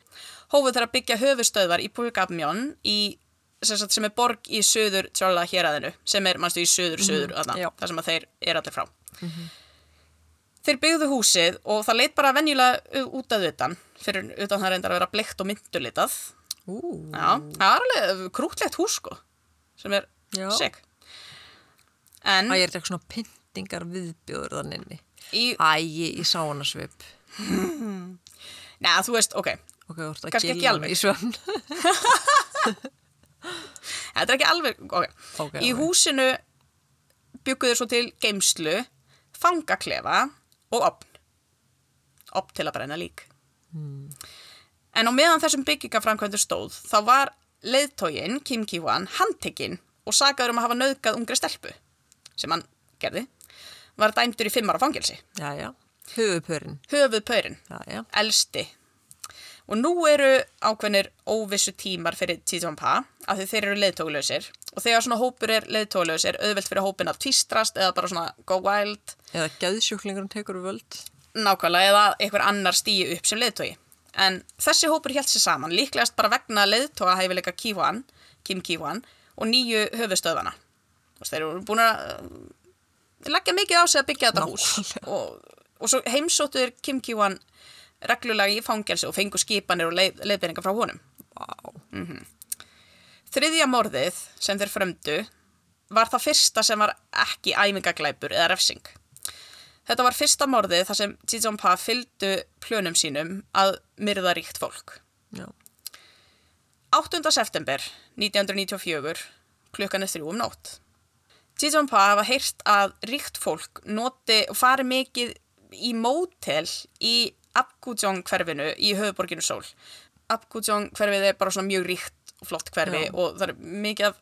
Speaker 1: hófuð þeir að byggja höfuðstöðvar í Pukapmjón í sem, sagt, sem er borg í söður tjálega héræðinu sem er, manstu, í söður söður mm
Speaker 2: Mhm, já. Mhm.
Speaker 1: þar sem að þeir eru allir frá þeir byggðu húsið og það leit bara venjulega u- út að utan fyrir utan það reyndar að vera bleikt og myndulitað
Speaker 2: Ú,
Speaker 1: já, það er alveg krútlegt hús sko sem er
Speaker 2: Já.
Speaker 1: sick en Mm.
Speaker 2: Æ, ég er eitthvað svona pyntingar viðbjóður þannig inni.
Speaker 1: í,
Speaker 2: Æ, ég, ég sá hana svip.
Speaker 1: neða, þú veist, ok
Speaker 2: Ok, þú ert að
Speaker 1: Kannski ekki
Speaker 2: gilla
Speaker 1: alveg.
Speaker 2: mig Í svefn.
Speaker 1: þetta er ekki alveg, ok,
Speaker 2: Ok,
Speaker 1: í
Speaker 2: ok.
Speaker 1: húsinu bygguðu svo til geimslu fangaklefa og opn opn til að brenna lík en á meðan þessum byggingaframkvæmdu stóð þá var leiðtógin Kim Ki-hwan handtekinn og sagaður um að hafa nöðgað ungri stelpu sem hann gerði var dæmdur í fimmara fangelsi
Speaker 2: Já, já. Höfupörin.
Speaker 1: höfuð pörin
Speaker 2: Já, já.
Speaker 1: elsti og nú eru ákveðnir óvissu tímar fyrir Tíðjón Pa af því þeir eru leiðtóklausir og þegar svona hópur er leiðtóklaus er auðvelt fyrir hópin að týstrast eða bara svona go wild
Speaker 2: Eða geðsjúklingurinn tekur við völd.
Speaker 1: nákvæmlega eða einhver annar stíu upp sem leiðtói en þessi hópur hélt sér saman líklegast bara vegna leiðtóa hæfileika Kívan, Kim Kívan og nýju höfustöðvana og þeir eru búin að eh, leggja mikið á sig að byggja þetta hús og, og svo heimsóttuður Kim Kívan reglulega í fangelsi og fengu skipanir og leið, leiðbyrningar frá honum Mhm.
Speaker 2: Vá.
Speaker 1: Þriðja morðið sem þeir fremdu var það fyrsta sem var ekki æmingaglæpur eða refsing. Þetta var fyrsta morðið þar sem Jijong Pa fylgdu plönum sínum að myrða ríkt fólk.
Speaker 2: Já.
Speaker 1: 8. september 1994 klukkan er þrjú um nótt. Jijong Pa hafa heyrt að ríkt fólk noti og fari mikið í mótel í Abgujong hverfinu í höfuborginu sól. Abgujong hverfið er bara svona mjög ríkt og flott hverfi
Speaker 2: Já.
Speaker 1: og það er mikið af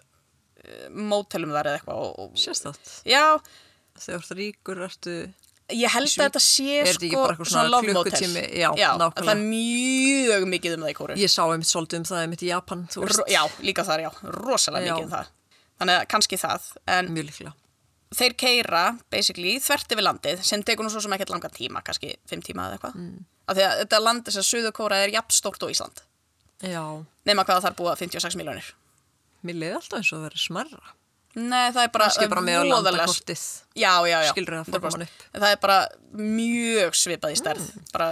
Speaker 1: eh, mótelum þar eða eitthvað. og- og-
Speaker 2: Sérstætt.
Speaker 1: Já,
Speaker 2: Þegar þú ert ríkur, ertu...
Speaker 1: ég held að þetta sé
Speaker 2: Er þetta ekki
Speaker 1: sko
Speaker 2: bara eitthvað svona
Speaker 1: love motel.
Speaker 2: klukkutími? Já, nákvæmlega.
Speaker 1: það er mjög mikið um það í kóru.
Speaker 2: Ég sá einmitt svolítið um það einmitt í Japan, þú veist.
Speaker 1: Ro- Já, líka þar, já, rosalega
Speaker 2: Já.
Speaker 1: mikið um það. Þannig að kannski það, en
Speaker 2: Mjög líklega.
Speaker 1: þeir keira, basically, þvert yfir landið sem tekur nú svo sem ekkert langan tíma, kannski fimm tíma eða eitthvað. Mm. Af því að þetta land þess að Suðurkóra er jafn stórt og Ísland.
Speaker 2: Já.
Speaker 1: Nefna hvað þar búa 56 miljónir.
Speaker 2: Mér leiði alltaf eins og það verið smerra.
Speaker 1: Nei, það er bara...
Speaker 2: Kannski bara með að landa
Speaker 1: voðalega-
Speaker 2: kortið.
Speaker 1: Já, já, já.
Speaker 2: Skilurðu það, formar mann upp. Mm.
Speaker 1: Það er bara mjög svipað í stærð. Bara,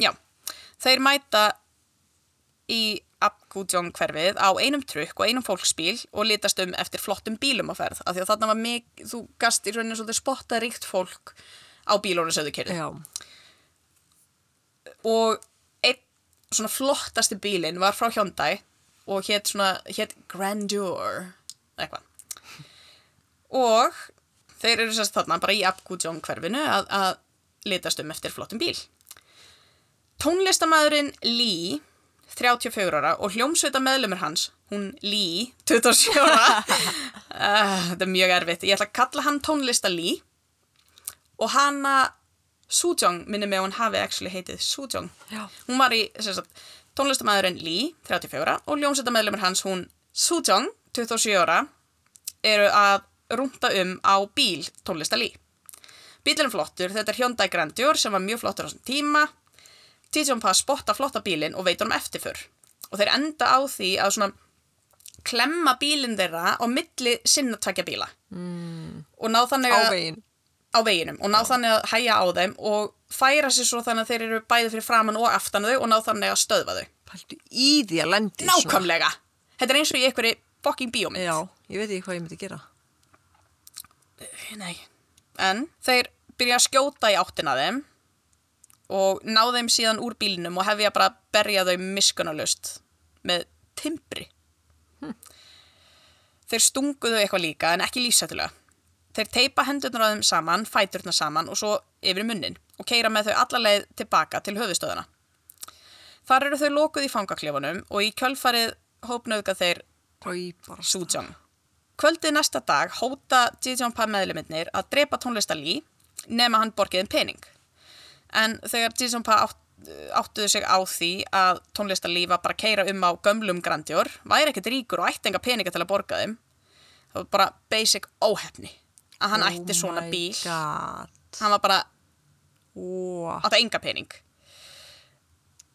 Speaker 1: já. Þeir mæta í Abgujong hverfið á einum trukk og einum fólksbíl og litast um eftir flottum bílum á ferð. Af því að þarna var mikið, þú gast í rauninni svolítið spotta ríkt fólk á bílónu sem þau kerðu
Speaker 2: Já.
Speaker 1: og einn svona flottasti bílinn var frá Hyundai og hétt svona, hétt Grandeur eitthvað og þeir eru sérst þarna bara í Abgujong hverfinu að, að litast um eftir flottum bíl tónlistamæðurinn Lee 34 ára og hljómsveita meðlumur hans hún Lee 27 ára uh, þetta er mjög erfitt ég ætla að kalla hann tónlista Lee og hana Sujong minni mig að hún hafi actually heitið Sujong
Speaker 2: Já.
Speaker 1: hún var í sem sagt, tónlistamæðurinn Lee, 34 og ljónsetameðlumur hans hún Sujong, 27 ára eru að rúnta um á bíl tónlista Lee bílinn er flottur, þetta er Hyundai Grandeur sem var mjög flottur á þessum tíma Tijong Pa spotta flotta bílinn og veit honum eftirför og þeir enda á því að svona klemma bílinn þeirra á milli sinna takja bíla mm. og ná þannig að
Speaker 2: Ávegin.
Speaker 1: á veginum og ná þannig að hæja á þeim og færa sér svo þannig að þeir eru bæði fyrir framann og aftan þau og ná þannig að stöðva þau.
Speaker 2: Pæltu í því að lendi í svona.
Speaker 1: Nákvæmlega! Þetta er eins og í einhverju fucking bíómynd.
Speaker 2: Já, ég veit ekki hvað ég myndi gera.
Speaker 1: Nei. En þeir byrja að skjóta í áttina að þeim og ná þeim síðan úr bílinum og hefja bara að berja þau miskunalust með timbri. Þeir stunguðu eitthvað líka en ekki lífsættulega. Þeir teipa hendurnar á þeim saman, fæturnar saman og svo yfir í munnin og keira með þau alla leið tilbaka til höfustöðuna. Þar eru þau lokuð í fangaklefanum og í kjölfarið hópnauðga þeir
Speaker 2: Í bara
Speaker 1: Sujong. Kvöldið næsta dag hóta Jijong Pa meðluminnir að drepa tónlista Lee nema hann borgiðin pening. En þegar Jijong Pa átt, áttuðu sig á því að tónlista Lee var bara að keira um á gömlum grandjór, væri ekkert ríkur og ætti enga peninga til að borga þeim. Það var bara basic óhefni að hann ætti svona bíl.
Speaker 2: Oh my god.
Speaker 1: Hann var bara,
Speaker 2: Wow.
Speaker 1: átti enga pening.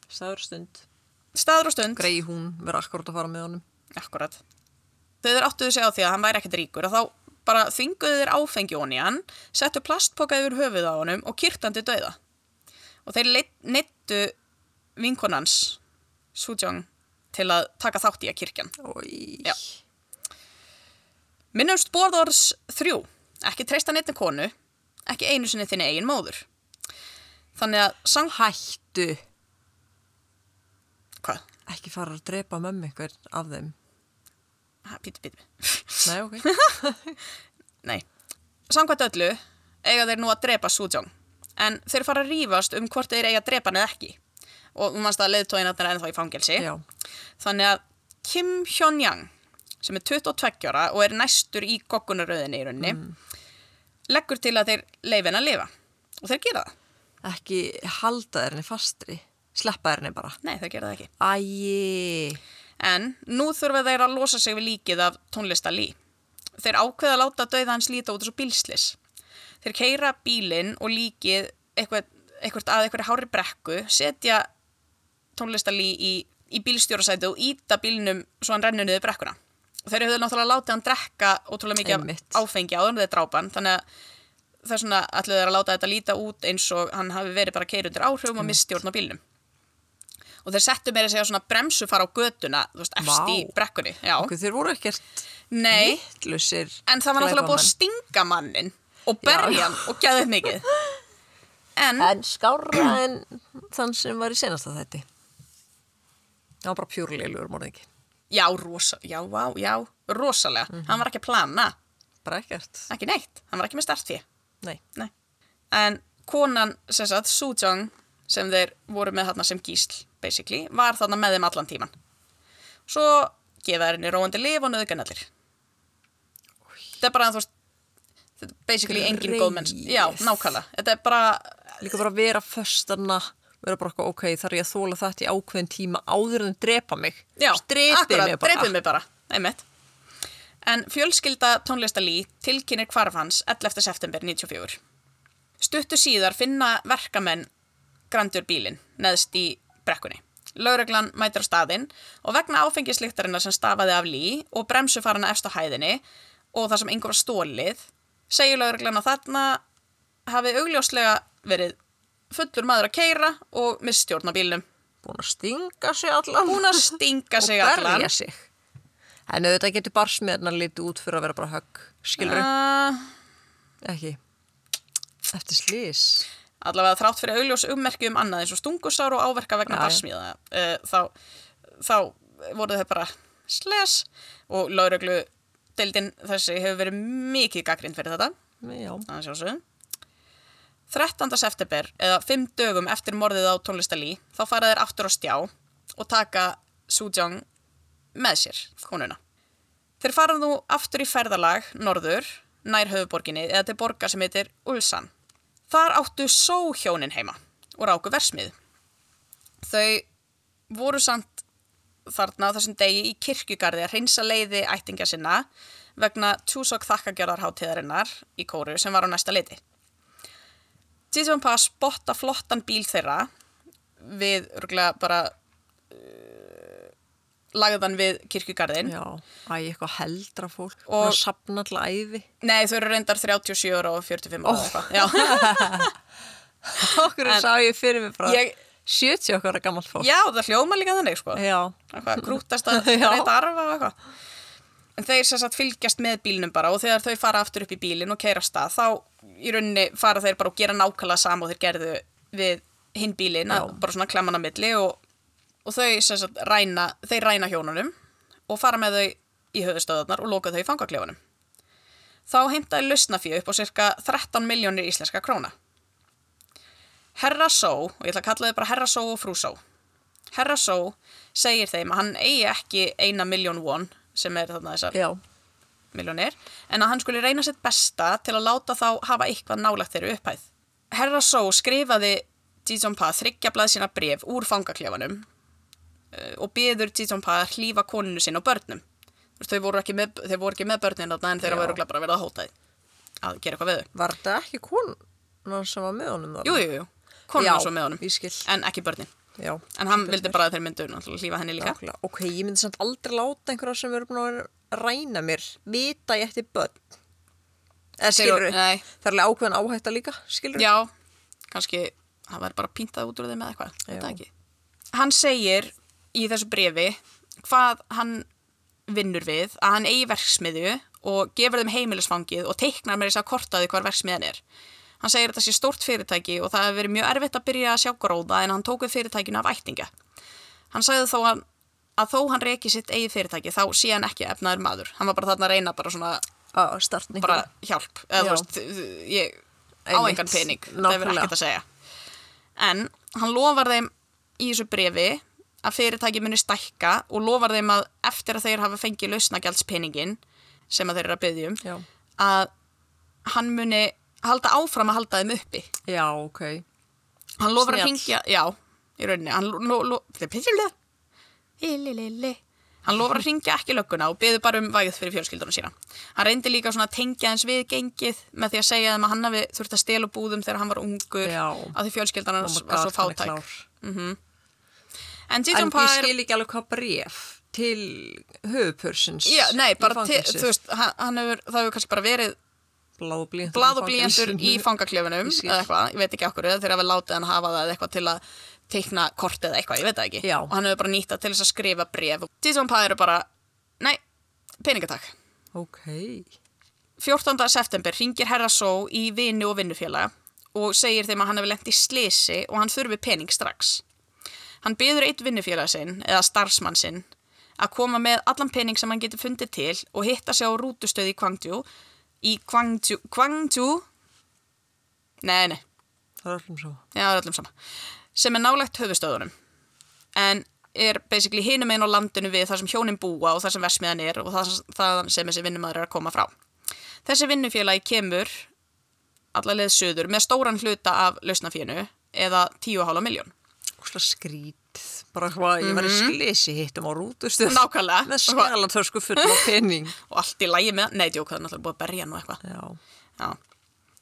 Speaker 2: Sæður stund.
Speaker 1: Staður og stund.
Speaker 2: Grei hún, verður akkurat að fara með honum.
Speaker 1: Akkurat. þeir áttuðu sig á því að hann væri ekkert ríkur og þá bara þvinguðu þeir áfengi onni hann, settu plastpoka yfir höfuð á honum og kýrtandi döiða. Og þeir neittu vinkonans, Sujong, til að taka þátt í að kirkjan.
Speaker 2: Ói.
Speaker 1: Já. Minnumst borðors þrjú, ekki treysta neittni konu, ekki einu sinni þinni eigin móður. Þannig að, sang...
Speaker 2: Hættu.
Speaker 1: Hvað?
Speaker 2: Ekki fara að drepa mömmu ykkur af þeim.
Speaker 1: Ha, Pítu, pítu, pítu.
Speaker 2: Nei, ok.
Speaker 1: Nei. Samkvæmt öllu eiga þeir nú að drepa Sujong. En þeir fara að rífast um hvort þeir eiga að drepa hann eða ekki. Og þú mannst að leiðtóin að er ennþá í fangelsi.
Speaker 2: Já.
Speaker 1: Þannig að Kim Hyun-yang, sem er 22 ára og er næstur í goggunaröðinni í rauninni, leggur til að þeir leifi henn að lifa. Og þeir gera það.
Speaker 2: Ekki halda þér henni fastri. Sleppa þér henni bara.
Speaker 1: Nei, þeir gera það ekki.
Speaker 2: Æi.
Speaker 1: En nú þurfa þeir að losa sig við líkið af tónlista Lee. Þeir ákveða að láta dauða hans líta út eins og bílslis. Þeir keira bílinn og líkið eitthvað, eitthvað að eitthvað hári brekku, setja tónlista Lee í, í bílstjórasæti og íta bílnum svo hann rennur niður brekkuna. Þeir höfðu náttúrulega látið hann drekka ótrúlega mikið
Speaker 2: Einmitt.
Speaker 1: af áfengi áður en þeir drápa hann, þannig að það er svona allir þeir að láta þetta líta út eins og hann hafi verið bara keir undir áhrifum og mistjórn á bílnum og þeir settu meira að segja svona bremsu fara á göduna, þú veist, efst
Speaker 2: Vá.
Speaker 1: í brekkunni já,
Speaker 2: Ok, þeir voru ekkert
Speaker 1: nei,
Speaker 2: hittlusir.
Speaker 1: en það var náttúrulega búið að stinga mannin og berja
Speaker 2: Já.
Speaker 1: hann og geða upp mikið en,
Speaker 2: En skárra en þann sem var í senasta þætti. Það var bara um pjúrleilugur morðingi.
Speaker 1: já, rosa, já, vá, já rosalega,
Speaker 2: Mhm.
Speaker 1: hann var ekki að plana
Speaker 2: Bara ekkert.
Speaker 1: ekki neitt, hann var ekki með startfí
Speaker 2: Nei.
Speaker 1: nei, en konan sem sagt, Sujong sem þeir voru með þarna sem gísl basically, var þarna með þeim allan tíman svo gefa þær henni róandi lif og nöðgan allir þetta er bara þú veist þetta er basically
Speaker 2: Greyið.
Speaker 1: engin góð menns já, nákvæmlega, þetta er bara
Speaker 2: Líka bara að vera föstanna, vera bara okkur, ok, þarf ég að þóla þetta í ákveðin tíma áður en þau drepa mig.
Speaker 1: já,
Speaker 2: Strepið
Speaker 1: akkurat,
Speaker 2: mig bara.
Speaker 1: dreipið mig bara einmitt en fjölskylda tónlista Lee tilkynir hvarf hans 11. september 94 stuttu síðar finna verkamenn grandur bílinn neðst í brekkunni Laureglan mætir á staðinn og vegna áfengislíktarinnar sem stafaði af Lee og bremsu farana efst á hæðinni og það sem einhver var stólið segir laureglan að þarna hafi augljóslega verið fullur maður að keira og misstjórna bílnum
Speaker 2: Búin að stinga sig allan.
Speaker 1: hún að stinga sig
Speaker 2: og
Speaker 1: allan
Speaker 2: berja sig. En auðvitað getur barsmiðarnar litið út fyrir að vera bara högg, skilur
Speaker 1: Uh,
Speaker 2: Ah. ekki. Eftir slís.
Speaker 1: allavega þrátt fyrir augljós ummerki um annað eins og stungusár og áverka vegna
Speaker 2: Já, já.
Speaker 1: barsmíða uh, þá, þá voru þau bara sles og lauruglu deildin þessi hefur verið mikið gaggrind fyrir þetta
Speaker 2: Já,
Speaker 1: að sjálfsögum. 13. september, eða 5 dögum eftir morðið á tónlistalí, þá fara þeir aftur á stjá og taka Sujong með sér, konuna. Þeir fara nú aftur í ferðalag, norður, nær höfuborginni, eða til borgar sem heitir Ulsan. Þar áttu sóhjónin heima og ráku versmið. Þau voru samt þarna á þessum degi í kirkjugarði að hreinsa leiði ættingja sinna vegna Tjúsok þakkagjörðarháttíðarinnar í kóru sem var á næsta leiti. Jizjón Pa spotta flottan bíl þeirra við örgulega bara uh, lagðan við kirkjugarðin.
Speaker 2: já. Æ, eitthvað heldra fólk.
Speaker 1: Og-
Speaker 2: Og að sapna alltaf æfi.
Speaker 1: Nei, þau eru reyndar 37 ára og 45 ára oh. eitthvað. Já.
Speaker 2: Okkur en, sá ég fyrir mig bara
Speaker 1: Ég-
Speaker 2: 70 okkar gammal fólk.
Speaker 1: Já, það hljóma líka þannig, sko.
Speaker 2: Já,
Speaker 1: Eitthvað, krútast að
Speaker 2: Já.
Speaker 1: reyta arfa og eitthvað. En þeir sem sagt fylgjast með bílnum bara og þegar þau fara aftur upp í bílinn og keira af stað, þá í rauninni fara þeir bara og gera nákvæmlega sama og þeir gerðu við hinn bílinn, að bara svona klemman á milli og, og þau sem sagt ræna, þeir ræna hjónunum og fara með þau í höfustöðarnar og loka þau í fangaklefanum. Þá heimtaði lausnafíu upp á cirka 13 miljónir íslenska króna. Herra Só, og ég ætla að kalla þau bara Herra Só og Frú Só. Herra Só segir þeim að hann eigi ekki eina miljón won, sem er þarna þessar
Speaker 2: já.
Speaker 1: miljónir, en að hann skulle reyna sitt besta til að láta þá hafa eitthvað nálagt þeirri upphæð. Herra Só skrifaði Jijong Pa þryggjablað sína bref úr fangaklefanum eh, og byður Jijong Pa að hlýfa koninu sinna og börnum. Þú veist, Þau voru ekki með, þau voru ekki með börnin þarna en þeirra
Speaker 2: Já.
Speaker 1: voru bara verið að hóta því að gera eitthvað við þau.
Speaker 2: Var þetta ekki konan sem var með honum þar?
Speaker 1: Jú, jú, jú, koninu
Speaker 2: Já,
Speaker 1: var svo með honum,
Speaker 2: ég skil.
Speaker 1: en ekki börnin.
Speaker 2: Já,
Speaker 1: En hann vildi bara að þeir myndu náttúrulega hlýfa henni líka.
Speaker 2: nákvæmlega. Ok, ég myndi samt aldrei láta einhverja sem eru búin að vera ræna mér vita ég eftir börn eða
Speaker 1: Sigur-
Speaker 2: skilur
Speaker 1: nei.
Speaker 2: það er alveg ákveðin áhætta líka skilur
Speaker 1: Já, kannski hann væri bara píntað út úr þeim eða eitthvað
Speaker 2: Já.
Speaker 1: Þetta ekki Hann segir í þessu brefi hvað hann vinnur við að hann eigi verksmiðju og gefur þeim heimilisfangið og teiknar með þess að kortaði hvar verksmiðan er Hann segir að þetta sé stórt fyrirtæki og það hefur verið mjög erfitt að byrja að sjá gróða en hann tókuð fyrirtækinu af ættinga Hann sagði þó að, að þó hann reki sitt eigi fyrirtæki þá sé hann ekki efnaður maður Hann var bara þarna að reyna bara svona
Speaker 2: á startningu
Speaker 1: bara hjálp eða
Speaker 2: Já.
Speaker 1: þú veist, ég á
Speaker 2: Einmitt.
Speaker 1: engan pening það hefur
Speaker 2: Nákvæmlega.
Speaker 1: ekkert að segja en hann lofar þeim í þessu brefi að fyrirtæki muni stækka og lofar þeim að eftir að þeir hafa fengið lausnagjaldspeningin sem að þeir eru að byggjum
Speaker 2: já.
Speaker 1: að hann muni halda áfram að halda þeim uppi
Speaker 2: já, ok
Speaker 1: hann lofar að
Speaker 2: Snjall.
Speaker 1: hringja já, í rauninni hann, lo, lo, lo, Lililili. Lililili. hann lofar að hringja ekki lögguna og byður bara um vægð fyrir fjölskyldunum sína hann reyndi líka svona að tengja hans við gengið með því að segja þeim að hann hafi þurft að stela úr búðum þegar hann var ungur
Speaker 2: Já.
Speaker 1: að því fjölskyldan
Speaker 2: Oh
Speaker 1: hans
Speaker 2: my
Speaker 1: var
Speaker 2: God,
Speaker 1: svo
Speaker 2: hann er
Speaker 1: fátæk
Speaker 2: klár.
Speaker 1: en
Speaker 2: En
Speaker 1: Jitsun
Speaker 2: ég
Speaker 1: Pá er
Speaker 2: skil ekki alveg hvað bref til höfupörsins
Speaker 1: Já, nei, bara til, þú
Speaker 2: þú veist
Speaker 1: veist, hann, hann hefur, það hefur kannski bara verið
Speaker 2: Blað og blíjantur
Speaker 1: blað og blíjandur í fangaklefunum
Speaker 2: Ég skil.
Speaker 1: eða eitthvað, ég veit ekki okkur eða þeir hafa látið hann hafa það eða eitthvað til að teikna kort eða eitthvað, ég veit það ekki
Speaker 2: Já.
Speaker 1: og hann hefur bara nýtt það til þess að skrifa bref Tíðsvon Pæði eru bara, nei, peningatak
Speaker 2: Ok,
Speaker 1: 14. september ringir Herra Só í vini og vinnufélaga og segir þeim að hann hefur lent í slisi og hann þurfi pening strax Hann byður eitt vinnufélaga sinn eða starfsmann sinn að koma með allan pening sem hann getur fundið til og hitta sig á rútustöði í Kvangtjú í Kvangtjú Kvangtjú Nei, nei,
Speaker 2: það er allum svo
Speaker 1: já, það er öllum sama sem er nálægt höfustöðunum en er basically hinum einn á landinu við þar sem hjónin búa og þar sem versmiðan er og þar þaðan sem þessi vinnumæður er að koma frá Þessi vinnufélagi kemur allar leið söður með stóran hluta af lausnafínu eða 10,5 miljón
Speaker 2: Úsla skrít, bara hvað ég var í slisi hittum á rútustu
Speaker 1: Mhm. Nákvæmlega.
Speaker 2: Með skjálatösku full á pening
Speaker 1: og allt í lægi með, nei, djók, það er náttúrulega búið að berja nú eitthvað
Speaker 2: Já,
Speaker 1: Já.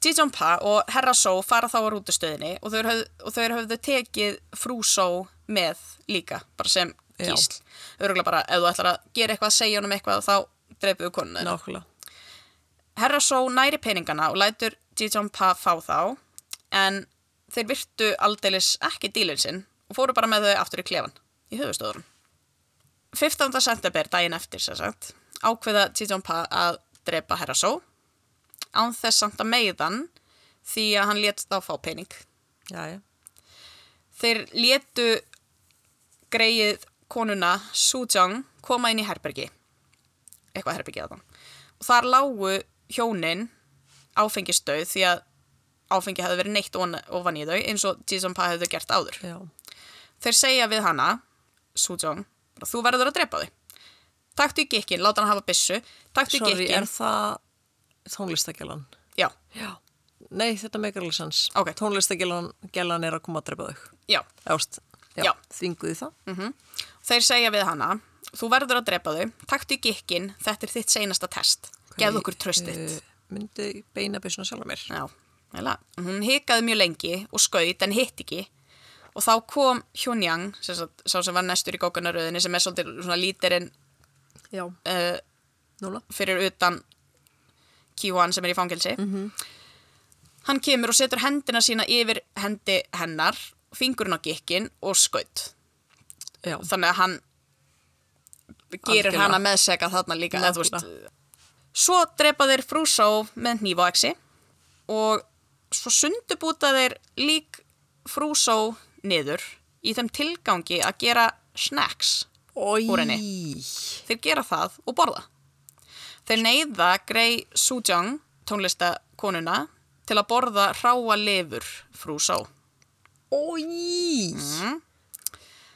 Speaker 1: Jijong Pa og Herra Só fara þá á rútustöðinni og þau, höf, og þau höfðu tekið frú Só með líka, bara sem
Speaker 2: Já.
Speaker 1: gísl. Örgulega bara, ef þú ætlar að gera eitthvað, segja honum eitthvað, þá dreipuðu konuna. þeirra.
Speaker 2: nákvæmlega
Speaker 1: Herra Só næri peningana og lætur Jijong Pa fá þá, en þeir virtu aldeilis ekki dílinn sinn og fóru bara með þau aftur í klefan, í höfustöðurum. 15. september, daginn eftir, sem sagt, ákveða Jijong Pa að drepa Herra Só án þess samt að meiðan því að hann létt þá fá pening.
Speaker 2: Jæja,
Speaker 1: Þeir létu greið konuna Sujong koma inn í herbergi. Eitthvað herbergi að það. Og þar lágu hjónin áfengisdauð því að áfengi hefði verið neitt ofan- ofan í þau eins og Jisung Pa hefði gert áður.
Speaker 2: já,
Speaker 1: Þeir segja við hana, Sujong, bara, þú verður að drepa þau. Taktu í gikkin, láta hann hafa byssu, taktu í
Speaker 2: sorry, er
Speaker 1: gikkin.
Speaker 2: það tónlistakjalan?
Speaker 1: Já,
Speaker 2: Já, nei, þetta meikar alveg sens
Speaker 1: Ok.
Speaker 2: Tónlistakjalan er að koma að drepa þau
Speaker 1: já.
Speaker 2: Eðast, já,
Speaker 1: Já. Mm,
Speaker 2: þvinguðu það
Speaker 1: Þeir segja við hana, þú verður að drepa þau, taktu í gikkin, þetta er þitt seinasta test. Gefðu okkur tröstitt.
Speaker 2: uh, myndi beina byssuna sjálf að mér
Speaker 1: Já, heila. Hún hikaði mjög lengi og skaut en hitt ekki. Og þá kom Hjón Yang, sem sagt, sá sem var næstur í gókanaröðinni, sem er svolítið svona lítirinn
Speaker 2: já,
Speaker 1: uh,
Speaker 2: núna
Speaker 1: fyrir utan Kiwan sem er í fangelsi. Hann kemur og setur hendina sína yfir hendi hennar, fingurinn á gikkin og skaut.
Speaker 2: já,
Speaker 1: þannig að hann gerir
Speaker 2: Algjörlega.
Speaker 1: hana með seg að þarna líka eða, þú veist, svo drepa þeir frúsá með hníf á exi og svo sundubúta þeir lík frúsá niður í þeim tilgangi að gera snacks
Speaker 2: Oj.
Speaker 1: úr henni. þeir gera það og borða þeir neyða Grey Sujong tónlistakonuna til að borða ráa lifur frúsá
Speaker 2: Oj. Mm.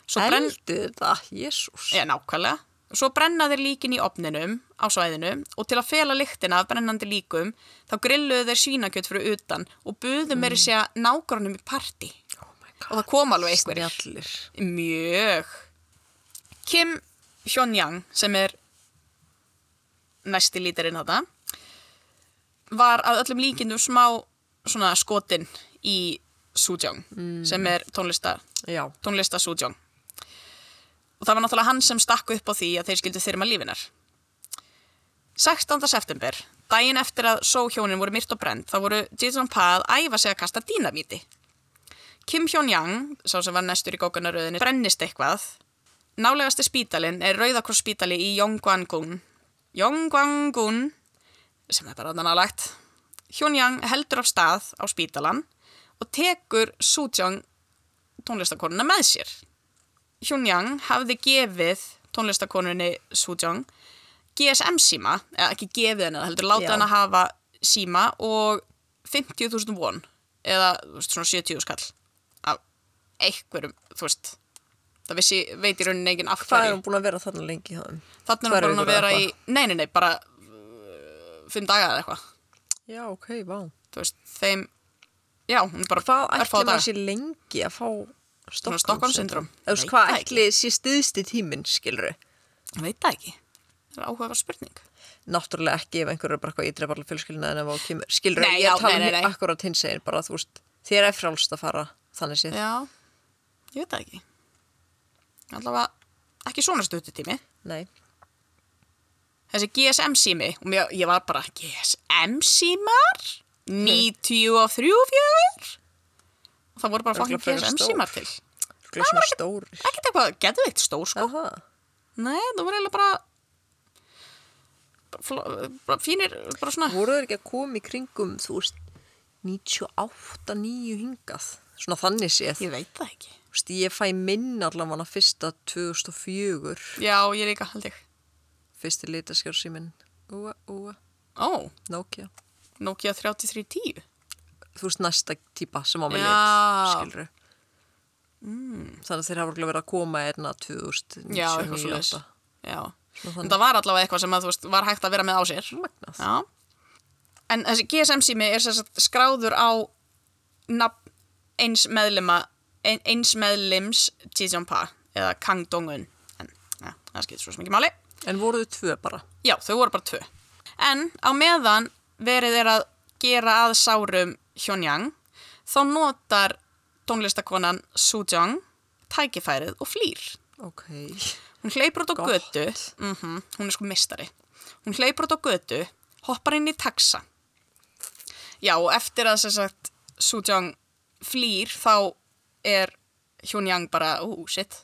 Speaker 1: svo brenn,
Speaker 2: eldu þetta, jésús
Speaker 1: Já, nákvæmlega. Svo brenna þeir líkin í opninum á svæðinu og til að fela lyktina af brennandi líkum þá grilluðu þeir svínakjöt fyrir utan og buðu meiri segja nágrunum í parti.
Speaker 2: oh my
Speaker 1: Og það kom alveg einhverjir.
Speaker 2: snjallir
Speaker 1: Mjög. Kim Hyun-yang sem er næsti lítarinn þetta var að öllum líkindum smá svona skotin í Sujong sem er tónlista
Speaker 2: já,
Speaker 1: tónlista Sujong og það var náttúrulega hann sem stakk upp á því að þeir skildu þyrma lífinar 16. september, daginn eftir að sóhjónin voru myrt og brend, þá voru Jijun Pa að æfa sig að kasta dínamíti. Kim Hyun-yang, sá sem var næstur í gókunaröðinu, brennist eitthvað. Nálegasti spítalinn er Rauðakross spítali í Yonggwangun. Yonggwangun, sem er bara þarna nálægt. Hyun-yang heldur af stað á spítalan og tekur Soo-jung tónlistakonuna með sér. Hyun-yang hafði gefið tónlistakonunni Soo-jung GSM-síma, eða ekki gefið henni, það heldur láta
Speaker 2: Já.
Speaker 1: henni að hafa síma og 50.000 won eða þú veist, svona 70 skall af einhverjum, þú veist það vissi, veit í rauninni enginn af
Speaker 2: Hvað er
Speaker 1: hverju
Speaker 2: hún búin að vera þarna lengi hjá þeim?
Speaker 1: þannig
Speaker 2: tvær
Speaker 1: er hún bara að
Speaker 2: vikur eða
Speaker 1: vera í nei, nei, nei, bara uh, fimm daga eða eitthvað
Speaker 2: Já, ok, vá.
Speaker 1: þú veist, þeim já, hún er bara
Speaker 2: Hvað
Speaker 1: örfáa
Speaker 2: ætli
Speaker 1: daga.
Speaker 2: maður sé lengi að fá
Speaker 1: Svona
Speaker 2: Stockholm syndrom?
Speaker 1: Stockholm-syndrom?
Speaker 2: Eða þú veist,
Speaker 1: Veit
Speaker 2: hvað
Speaker 1: það
Speaker 2: ætli sé stiðst í tíminn, skilru?
Speaker 1: Ég veit það ekki, það er áhugaverð spurning
Speaker 2: Náttúrulega ekki ef einhverju er bara eitthvað ídreif allir fjölskyldina en ef á kemur, skilru,
Speaker 1: Nei,
Speaker 2: ég
Speaker 1: já,
Speaker 2: er að tala
Speaker 1: nei,
Speaker 2: um
Speaker 1: nei, nei.
Speaker 2: akkurat hins einn, bara þú veist, þér er frálst að fara þannig séð.
Speaker 1: já, ég veit það ekki allavega ekki svona stuttutími
Speaker 2: Nei,
Speaker 1: þessi GSM-sími og mér, ég var bara GSM-símar 93 fjögur og það voru bara
Speaker 2: Örugglega
Speaker 1: fokkin
Speaker 2: frekar
Speaker 1: GSM-símar til
Speaker 2: rúklega svona stóri.
Speaker 1: ekkert eitthvað geðveikt stór sko
Speaker 2: Aha,
Speaker 1: nei, það voru eiginlega bara, bara, fló- bara fínir bara svona,
Speaker 2: voru þeir ekki að koma í kringum, þú veist, 98, 9 hingað, svona þannig séð.
Speaker 1: ég veit það ekki
Speaker 2: Þú veist, ég fæ minn allavega fyrsta 2004,
Speaker 1: já, ég líka, held ég
Speaker 2: fyrsti litaskjársýminn, úa, úa,
Speaker 1: ó,
Speaker 2: Nokia.
Speaker 1: Nokia 3310
Speaker 2: þú veist, næsta típa sem á mig
Speaker 1: Já.
Speaker 2: lit, skilru. Mm. Þannig að þeir hafa örugglega verið að koma hérna erna 2000,
Speaker 1: já, eitthvað svo leis já,
Speaker 2: Svona
Speaker 1: en það var allavega eitthvað sem að, þú veist, var hægt að vera með á sér
Speaker 2: Magnað.
Speaker 1: Já. En þessi GSM-sími er sem sagt skráður á nafn eins meðlima, ein- eins meðlims Jijongpa eða Kang Dong-un. En ja, það skiptir svo sem ekki máli.
Speaker 2: En voru þau tvö bara?
Speaker 1: Já, þau voru bara tvö. En á meðan verið er að gera að sárum Hyunjang, þá notar tónlistakonan Soo Jung tækifærið og flýr.
Speaker 2: Ok.
Speaker 1: Hún hleypur út á
Speaker 2: Gott.
Speaker 1: götu, mm hún er sko mistari. Hún hleypur út á götu, hoppar inn í taxa. Já, og eftir að sem sagt Soo-jung flýr, þá er Hyun-yang bara, ú, shit,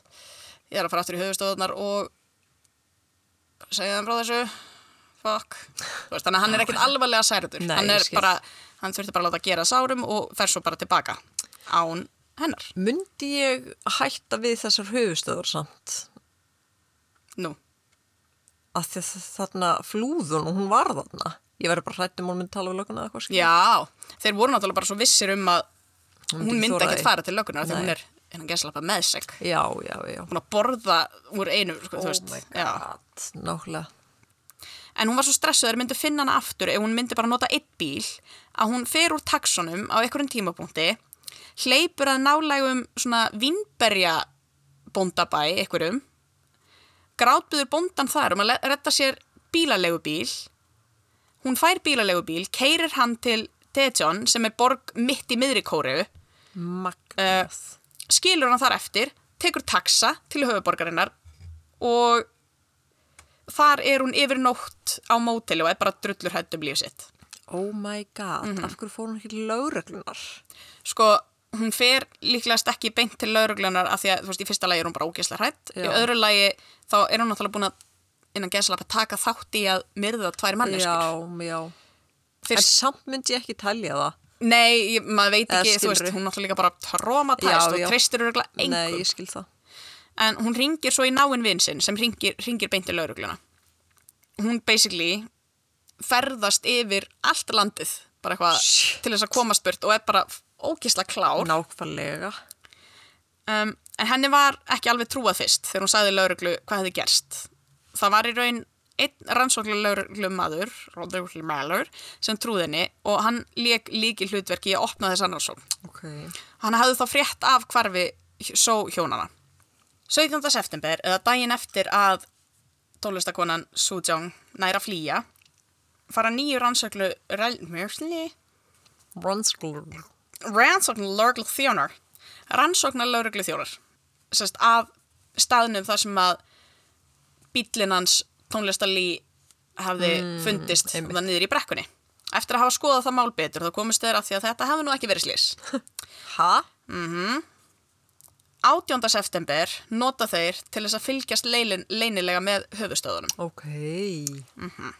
Speaker 1: ég er að fara aftur í höfustöðunar og segja þeim frá þessu, fuck. Þú Veist, þannig að hann er ekkert alvarlega særður.
Speaker 2: Nei,
Speaker 1: hann
Speaker 2: ég
Speaker 1: er
Speaker 2: skil.
Speaker 1: bara, hann þurfti bara að láta gera sárum og fer svo bara tilbaka án hennar.
Speaker 2: Mundi ég hætta við þessar höfustöður samt?
Speaker 1: Nú,
Speaker 2: Að því að þarna flúðun og hún var þarna. Ég verður bara hrætt um hún myndi tala við löguna eða eitthvað skilur.
Speaker 1: Já, þeir voru náttúrulega bara svo vissir um að hún myndi,
Speaker 2: þora
Speaker 1: ekkert
Speaker 2: því.
Speaker 1: fara til löggunar
Speaker 2: Nei.
Speaker 1: þegar hún er hennan gæslappa með seg
Speaker 2: Já, já, já.
Speaker 1: hún að borða úr einu sko,
Speaker 2: Oh
Speaker 1: þú veist,
Speaker 2: my
Speaker 1: já. Eh,
Speaker 2: god, nákvæmlega.
Speaker 1: en hún var svo stressuð að þeir myndu finna hana aftur ef hún myndi bara nota eitt bíl að hún fer úr taxonum á einhverjum tímapunkti hleypur að nálægum svona vinnberja bóndabæ einhverjum grátbyður bóndan þar um að le- redda sér bílaleigubíl hún fær bílaleigubíl, keirir hann til Tejon sem er borg mitt í miðri kóru
Speaker 2: Magnað.
Speaker 1: skilur hann þar eftir, tekur taxa til höfuborgarinnar og þar er hún yfir nótt á móteli og er bara drullur hætt um líf sitt.
Speaker 2: oh my god,
Speaker 1: mhm.
Speaker 2: af hverju fór hún ekki til lögreglunar?
Speaker 1: Sko, hún fer líklegast ekki beint til lauruglunar af því að, þú veist, í fyrsta lagi er hún bara ógeðslega hrætt. Í
Speaker 2: Já.
Speaker 1: öðru lagi þá er hún náttúrulega búin að innan geðslapa taka þátt í að myrða tvær manneskur.
Speaker 2: Já, já. En
Speaker 1: Fyrst,
Speaker 2: samt myndi ég ekki telja það.
Speaker 1: nei, ég- maður veit
Speaker 2: Eða
Speaker 1: ekki, þú veist,
Speaker 2: skilurðu?
Speaker 1: hún náttúrulega líka bara traumatæst og treystir öruglega
Speaker 2: Nei,
Speaker 1: engum.
Speaker 2: ég skil það.
Speaker 1: en hún ringir svo í náinn vinsinn sem ringir, ringir beint til laurugluna hún basically ferðast yfir allt landið bara eitthvað
Speaker 2: Shit.
Speaker 1: til þess að komast burt og er bara ógisla klár
Speaker 2: Nákvæmlega.
Speaker 1: um, en henni var ekki alveg trúað fyrst þegar hún sagði lauruglu hvað hefði gerst það var í raun einn rannsóklu lauruglumadur lauruglumadur sem trúði henni og hann lék líki hlutverki í að opna þess annarsókn
Speaker 2: Ok.
Speaker 1: Hann hafði þá frétt af hvarfi só hjónana. 17. september, eða daginn eftir að tólistakonan Soo Jong næra flýja, fara nýju rannsöklu
Speaker 2: Bronsglur.
Speaker 1: rannsóknalörglu þjónar rannsóknalörglu þjónar sérst af staðnum þar sem að bíllinn hans tónlistalí hafði fundist það niður í brekkunni. Eftir að hafa skoðað það mál betur þá komist þeir að því að þetta hefði nú ekki verið slís.
Speaker 2: Ha?
Speaker 1: 18. september nota þeir til þess að fylgjast leilin, leynilega með höfustöðunum.
Speaker 2: Ok. Mm -hmm.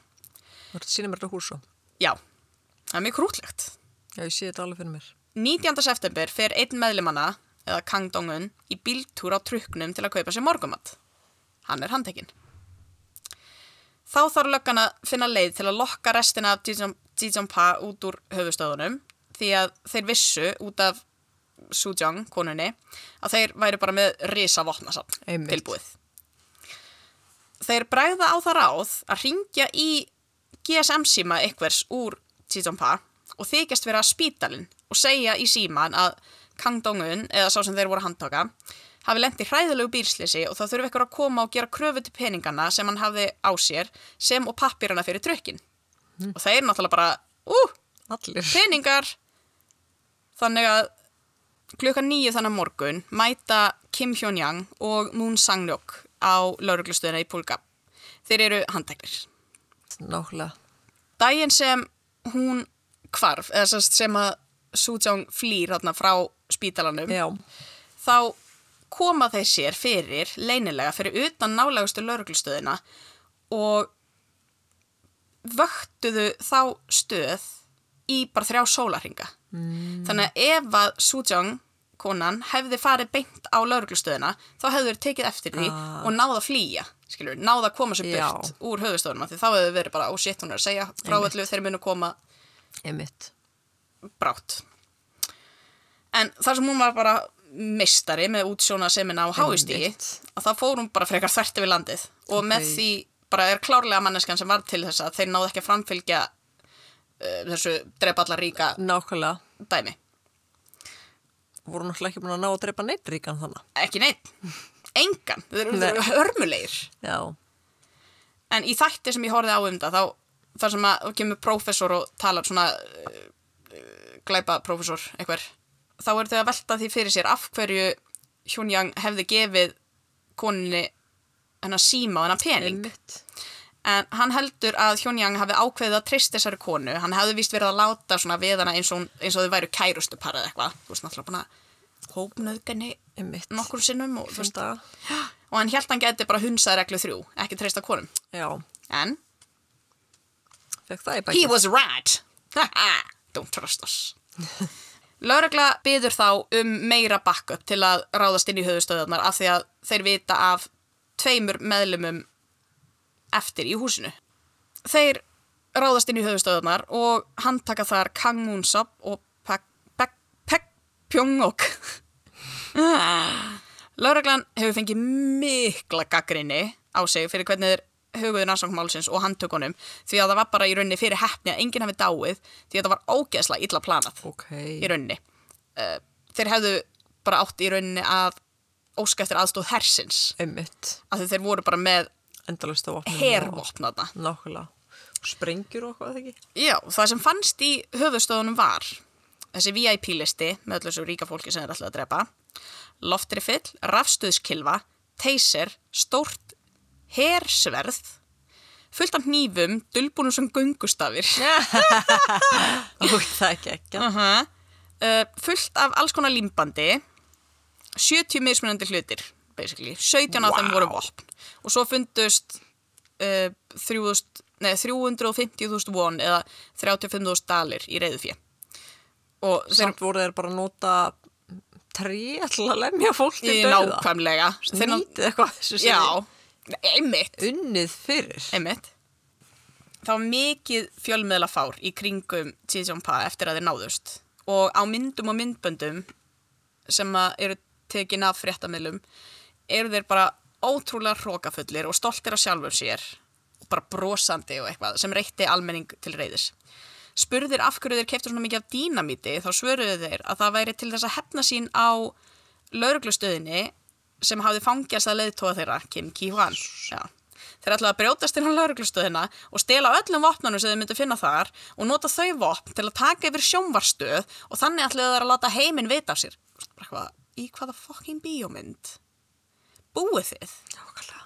Speaker 2: Þú ert að sína mér þetta hús svo.
Speaker 1: Já, það er mjög krútlegt.
Speaker 2: Já, ég sé þetta alveg fyrir mér.
Speaker 1: 19. september fer einn meðlimanna, eða Kang Dong-un, í bíltúr á trukknum til að kaupa sér morgumat. Hann er handtekinn. Þá þarf löggan að finna leið til að lokka restina af Jijongpa út úr höfustöðunum því að þeir vissu út af Sujong, konunni, að þeir væri bara með risa vopnasamn
Speaker 2: Einmitt.
Speaker 1: tilbúið. Þeir bregða á það ráð að ringja í GSM-síma ykkvers úr Jijongpa og þykjast vera spítalinn og segja í síman að Kang Dong-un, eða sá sem þeir voru að handtaka, hafi lent í hræðilegu bílslisi og þá þurfi ykkur að koma og gera kröfu til peningana sem hann hafði á sér sem og pappirana fyrir trökkin. Og þeir náttúrulega bara, ú,
Speaker 2: Allir.
Speaker 1: peningar! Þannig að klukkan nýju þannig að morgun mæta Kim Hyun-yang og Moon Sang-ryuk á lauruglustöðina í Púlga. Þeir eru handteknir.
Speaker 2: Nákvæmlega.
Speaker 1: Dæin sem hún kvarf, eða sem sagt sem að Sujong flýr þarna frá spítalanum,
Speaker 2: Já.
Speaker 1: þá koma þeir sér fyrir leynilega fyrir utan nálegustu lauruglustöðina og vöktuðu þá stöð í bara þrjá sólarhinga. Mm. Þannig að ef að Sujong konan hefði farið beint á lauruglustöðina þá hefðu þeir tekið eftir því og náða að flýja, skilur, náða að koma sér
Speaker 2: Já.
Speaker 1: burt úr höfustöðunum af því þá hefðu verið bara, ó shit, hún er að segja frá öllu, þeir munu koma
Speaker 2: Einmitt.
Speaker 1: brátt. En þar sem hún var bara meistari með útsjóna semina á háustígi,
Speaker 2: Einmitt.
Speaker 1: að það fór hún bara frekar þvert yfir landið og með
Speaker 2: Ok.
Speaker 1: því bara er klárlega manneskan sem var til þess að þeir náðu ekki að framfylgja uh, þessu drepa allar ríka
Speaker 2: Nákvæmlega.
Speaker 1: dæmi.
Speaker 2: Voru náttúrulega ekki búin að ná að drepa neitt ríkan þannig.
Speaker 1: Ekki neitt. Engan. Þeir eru-
Speaker 2: Nei.
Speaker 1: þeir eru hörmulegir.
Speaker 2: Já.
Speaker 1: En í þætti sem ég horfið á um það, þá þar sem að kemur prófessor og talar svona uh, glæpa prófessor eitthver, þá eru þau að velta því fyrir sér af hverju Hjón Yang hefði gefið koninni hennar síma og hennar pening.
Speaker 2: Einmitt.
Speaker 1: En hann heldur að Hjón Yang hafi ákveðið að treysta þessari konu, hann hefði víst verið að láta svona við hana eins og, hún- eins og þau væru kærustu parað eitthvað. Þú veist náttúrulega búin að hópnöðgani
Speaker 2: Einmitt.
Speaker 1: nokkur sinnum og, þú veist,
Speaker 2: Fyrsta.
Speaker 1: og hann held hann geti bara hunsað reglu þrjú, ekki treysta konum.
Speaker 2: Já.
Speaker 1: En
Speaker 2: Fekk það í
Speaker 1: He
Speaker 2: bækið.
Speaker 1: was right. Don't trust us. Lörgla byður þá um meira backup til að ráðast inn í höfustöðunar af því að þeir vita af tveimur meðlumum eftir í húsinu. Þeir ráðast inn í höfustöðunar og handtaka þar Kang Moonsop og Pak- Pak- Pak Pyongok. Lörglan hefur fengið mikla gaggrinni á sig fyrir hvernig þeir huguðu rannsóknmálsins og handtökunum því að það var bara í rauninni fyrir hefni að enginn hafi dáið því að það var ógeðslega illa planað
Speaker 2: Ok.
Speaker 1: í rauninni. Eh, Þeir hefðu bara átt í rauninni að óska eftir aðstóð hersins
Speaker 2: Einmitt.
Speaker 1: af því þeir voru bara með
Speaker 2: Endalist á opnum.
Speaker 1: hervopnaðna.
Speaker 2: Nákvæmlega. Sprengjur og hvað ekki?
Speaker 1: Já, það sem fannst í höfuðstöðunum var þessi VIP-listi með öllu þessu ríka fólki sem er alltaf að drepa, loftrifill, rafstuðskilva, teyser, stórt hersverð, fullt af hnífum, dulbúnum sem göngustafir,
Speaker 2: Og það ekki ekki.
Speaker 1: uh Eh, fullt af alls konar límbandi, 70 mismunandi hlutir, basically, 17 af þeim
Speaker 2: Vá.
Speaker 1: voru vopn og svo fundust uh, 3000, nei, 350.000 von eða 35.000 dalir í reyðufjö. Og þeir
Speaker 2: Samt voru þeir bara að nota trí til að lemja fólk til
Speaker 1: í
Speaker 2: döða.
Speaker 1: nákvæmlega. Þeir ná-
Speaker 2: Nýtið eitthvað þessu sem
Speaker 1: Já, einmitt.
Speaker 2: er unnið fyrir.
Speaker 1: Einmitt. Það var mikið fjölmiðla fár í kringum Tsitsjónpa eftir að þeir náðust og á myndum og myndböndum sem að eru tekin af fréttamiðlum eru þeir bara ótrúlega hrókafullir og stoltir af sjálfur sér og bara brosandi og eitthvað sem reytti almenning til reyðis. Spurðir af hverju þeir keftu svona mikið af dínamíti þá svöruðu þeir að það væri til þess að hefna sín á lauruglustöðinni sem hafði fangjast að leiðtóa þeirra, Kim Ki-hwan. Já. Þeir ætlaði að brjótast inn á lauruglustöðina og stela öllum vopnunum sem þeir myndu finna þar og nota þau vopn til að taka yfir sjónvarstöð og þannig ætlaði þeir að láta heiminn vita af sér. Bara hvað, í hvaða fokkin bíómynd? Búið þið?
Speaker 2: Nákvæmlega.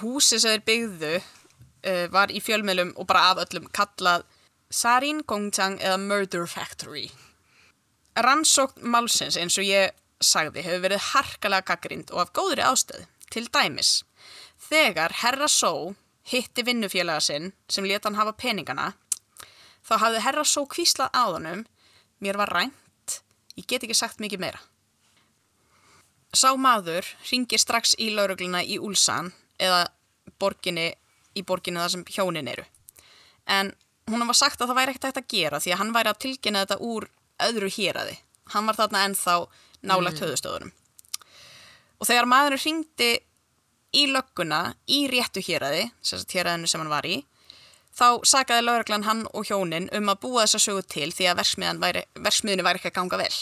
Speaker 1: Húsi sem þeir byggðu uh, var í fjölmiðlum og bara af öllum kallað Sarin Gongchang eða Murder Factory. Rannsókn málsins eins og ég sagði hefur verið harkalega gaggrind og af góðri ástöð, til dæmis. Þegar Herra Só hitti vinnufélaga sinn sem leta hann hafa peningana, þá hafði Herra Só kvíslað á honum, mér var rænt, ég get ekki sagt mikið meira. Sá maður ringir strax í laurugluna í Úlsan eða borginni, í borginni þar sem hjónin eru. En hún var sagt að það væri ekkert hægt að gera því að hann væri að tilkynna þetta úr öðru héraði. Hann var þarna ennþá nálagt höfðustöðunum. Og þegar maðurinn ringdi í lögguna í réttu héraði, sem sagt héraðinu sem hann var í, þá sakaði lauruglan hann og hjónin um að búa þessa sögu til því að verksmiðan væri, verksmiðinu væri ekki að ganga vel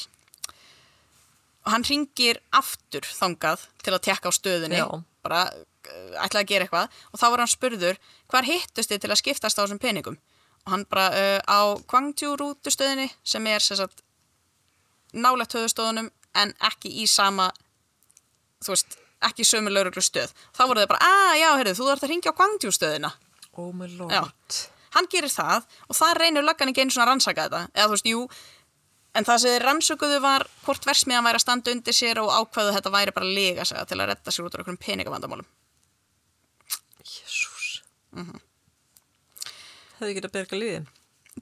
Speaker 1: og hann ringir aftur þangað til að tekka á stöðunni
Speaker 2: Já.
Speaker 1: bara uh, ætlaði að gera eitthvað og þá var hann spurður hvar hittust þið til að skiptast á þessum peningum og hann bara uh, á Gwangju rútustöðinni sem er sem sagt, nálægt höfustöðunum en ekki í sama þú veist, ekki í sömu lauruglu stöð þá voru þau bara, að já, heyrðu, þú þarf að ringja á Gwangju stöðina
Speaker 2: Oh my lord.
Speaker 1: Já. Hann gerir það og það reynir löggan ekki einu svona að rannsaka þetta. Eða þú veist, jú, en það sem þeir rannsökuðu var hvort versmiðan væri að standa undir sér og ákvaðu þetta væri bara lega segja til að redda sér út úr einhverjum peningavandamálum.
Speaker 2: Jésús.
Speaker 1: Mhm.
Speaker 2: Hefði getað berga lífið.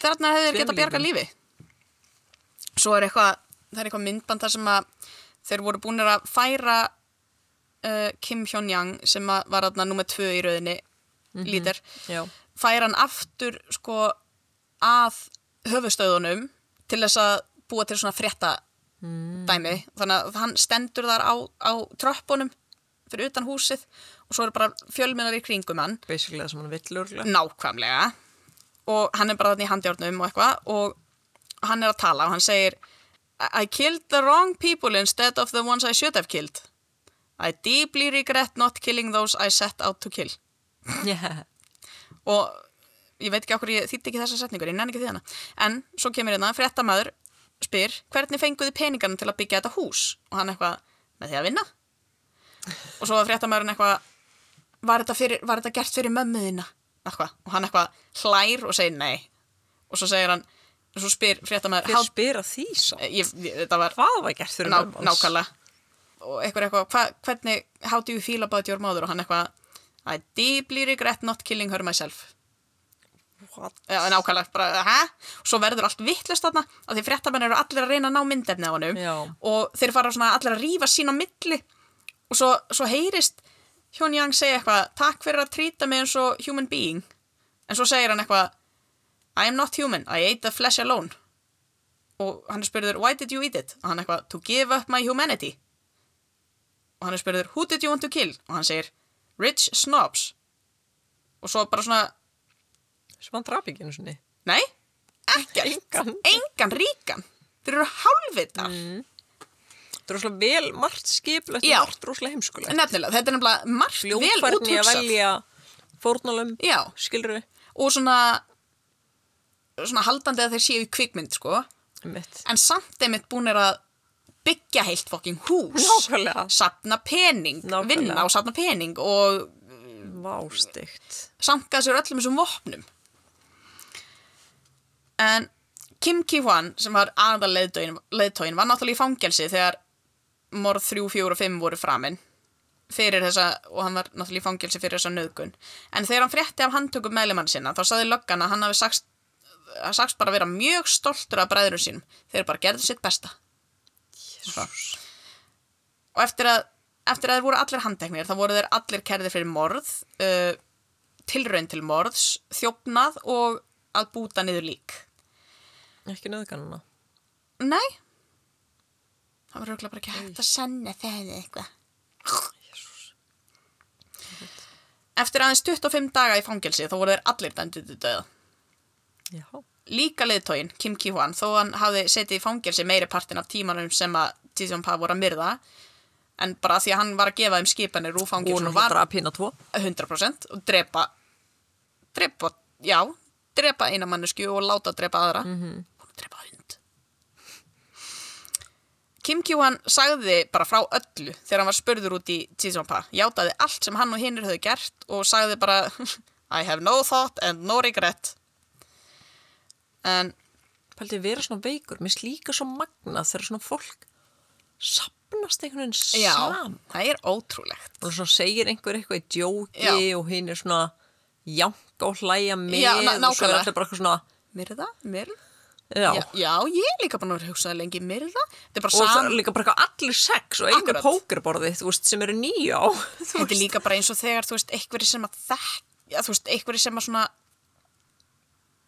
Speaker 1: Þarna hefur þeir
Speaker 2: Tveim
Speaker 1: getað bjarga lífi. Svo er eitthvað, það er eitthvað myndband þar sem að þeir voru búinir að færa uh, Kim Hyun-yang sem að var þarna nummer tvö í rauðinni lítir.
Speaker 2: Já.
Speaker 1: færa hann aftur sko að höfustöðunum til þess að búa til svona frétta dæmi þannig að hann stendur þar á, á tröppunum fyrir utan húsið og svo eru bara fjölminnar í kringum hann
Speaker 2: Basically það sem hann vill örgulega.
Speaker 1: nákvæmlega og hann er bara þarna í handjárnum og eitthvað og hann er að tala og hann segir I I killed the wrong people instead of the ones I should have killed I deeply regret not killing those I set out to kill
Speaker 2: Yeah.
Speaker 1: og ég veit ekki okkur ég þýtti ekki þessa setningur, ég nenni ekki því hana en svo kemur hérna, fréttamaður spyr, hvernig fenguðu peningarna til að byggja þetta hús og hann eitthvað, með því að vinna og svo var fréttamaðurinn eitthvað var þetta, fyrir, var þetta gert fyrir mömmuðina eitthvað, og hann eitthvað hlær og segir nei og svo segir hann, svo spyr fréttamaður
Speaker 2: Hver
Speaker 1: "How-
Speaker 2: spyr að því sá?
Speaker 1: ég, ég, þetta var
Speaker 2: Hvað var gert fyrir
Speaker 1: Ná,
Speaker 2: mömmu hans?
Speaker 1: nákvæmlega og eitthvað er eitthvað, hva, hvernig how do you feel about your mother og hann eitthvað I deeply regret not killing her myself
Speaker 2: What?
Speaker 1: Já, Eh, nákvæmlega, bara, hæ? Svo verður allt vittlust þarna, af því fréttamenn eru allir að reyna að ná myndefni á honum
Speaker 2: Já.
Speaker 1: og þeir fara svona allir að rífa sín á milli og svo, svo heyrist Hjón Jang segja eitthvað, takk fyrir að trýta mig eins og human being en svo segir hann eitthvað I am not human, I ate the flesh alone og hann er spurður, why did you eat it? og hann eitthvað, to give up my humanity og hann er spurður, who did you want to kill? og hann segir, rich snobs og svo bara svona
Speaker 2: Sem hann draf ekki einu sinni.
Speaker 1: Nei, ekkert.
Speaker 2: Engan. Mm.
Speaker 1: Engan ríkan. Þeir eru hálfvitar.
Speaker 2: Þetta er rosalega vel margt skiplegt
Speaker 1: Já.
Speaker 2: og margt rosalega heimskulegt.
Speaker 1: Nefnilega, þetta er nefnilega margt vel
Speaker 2: Fljókvarni að
Speaker 1: úthugsað.
Speaker 2: velja fórnalum,
Speaker 1: Já,
Speaker 2: skilru,
Speaker 1: og svona, svona haldandi að þeir séu í kvikmynd, sko.
Speaker 2: mitt.
Speaker 1: En samt einmitt búinir að byggja heilt fokking hús.
Speaker 2: Nákvæmlega.
Speaker 1: Safna pening,
Speaker 2: Nákvæmlega.
Speaker 1: vinna og safna pening og
Speaker 2: Vástygt.
Speaker 1: samkað sér öllum þessum vopnum. En Kim Ki-hwan, sem var aðaleiðtóin, var náttúrulega í fangelsi þegar morð 3, 4 og 5 voru framinn fyrir þessa, og hann var náttúrulega í fangelsi fyrir þessa nöðgun. En þegar hann frétti af handtökum meðlumann sinna, þá saði löggan að hann hafi sagst, að sagst bara vera mjög stoltur af bræðurum sínum. Þeir bara gerðu sitt besta.
Speaker 2: Jésús.
Speaker 1: og eftir að, eftir að þeir voru allir handteknir þá voru þeir allir kerðir fyrir morð uh, tilraun til morðs þjófnað og að búta niður lík
Speaker 2: Ekki nöðganuna.
Speaker 1: nei það var röglega bara ekki hægt að sanna það eitthvað eftir aðeins 25 daga í fangelsi þá voru þeir allir dæmdið til döða
Speaker 2: Já.
Speaker 1: líka leiðtógin Kim Ki-hwan þó hann hafði setið í fangelsi meiri partin af tímanum sem að Jisung Pa voru að myrða en bara því að hann var að gefa þeim skipanir úr
Speaker 2: Hún
Speaker 1: fangelsi
Speaker 2: var draf hérna tvo.
Speaker 1: 100% og drepa drepa, já drepa eina mannesku og láta drepa aðra
Speaker 2: Mhm.
Speaker 1: hún drepa hund Kim Kjúan sagði bara frá öllu þegar hann var spurður út í Tsitsumpa, játaði allt sem hann og hinnir höfðu gert og sagði bara I have no thought and no regret. En
Speaker 2: Paldið vera svona veikur, mér slíka svo magnað þegar svona fólk sapnast einhvern veginn
Speaker 1: já,
Speaker 2: saman.
Speaker 1: það er ótrúlegt.
Speaker 2: Og svona segir einhver eitthvað í djóki
Speaker 1: Já.
Speaker 2: og hinn er svona janka og hlæja með
Speaker 1: Já, ná-
Speaker 2: og svo er
Speaker 1: nákvæmlega.
Speaker 2: allir bara eitthvað svona, myrða?
Speaker 1: Myrða?
Speaker 2: Já.
Speaker 1: Já, já, ég er líka búin að vera hugsaði lengi myrða. Þetta er bara
Speaker 2: Og það er
Speaker 1: saman.
Speaker 2: líka bara eitthvað allir sex og einu
Speaker 1: Akkurat.
Speaker 2: pókerborðið, þú veist, sem eru nýjá. Þú
Speaker 1: Þetta er
Speaker 2: veist,
Speaker 1: líka bara eins og þegar, þú veist, einhverjir sem að þekk, já, þú veist, einhverjir sem að svona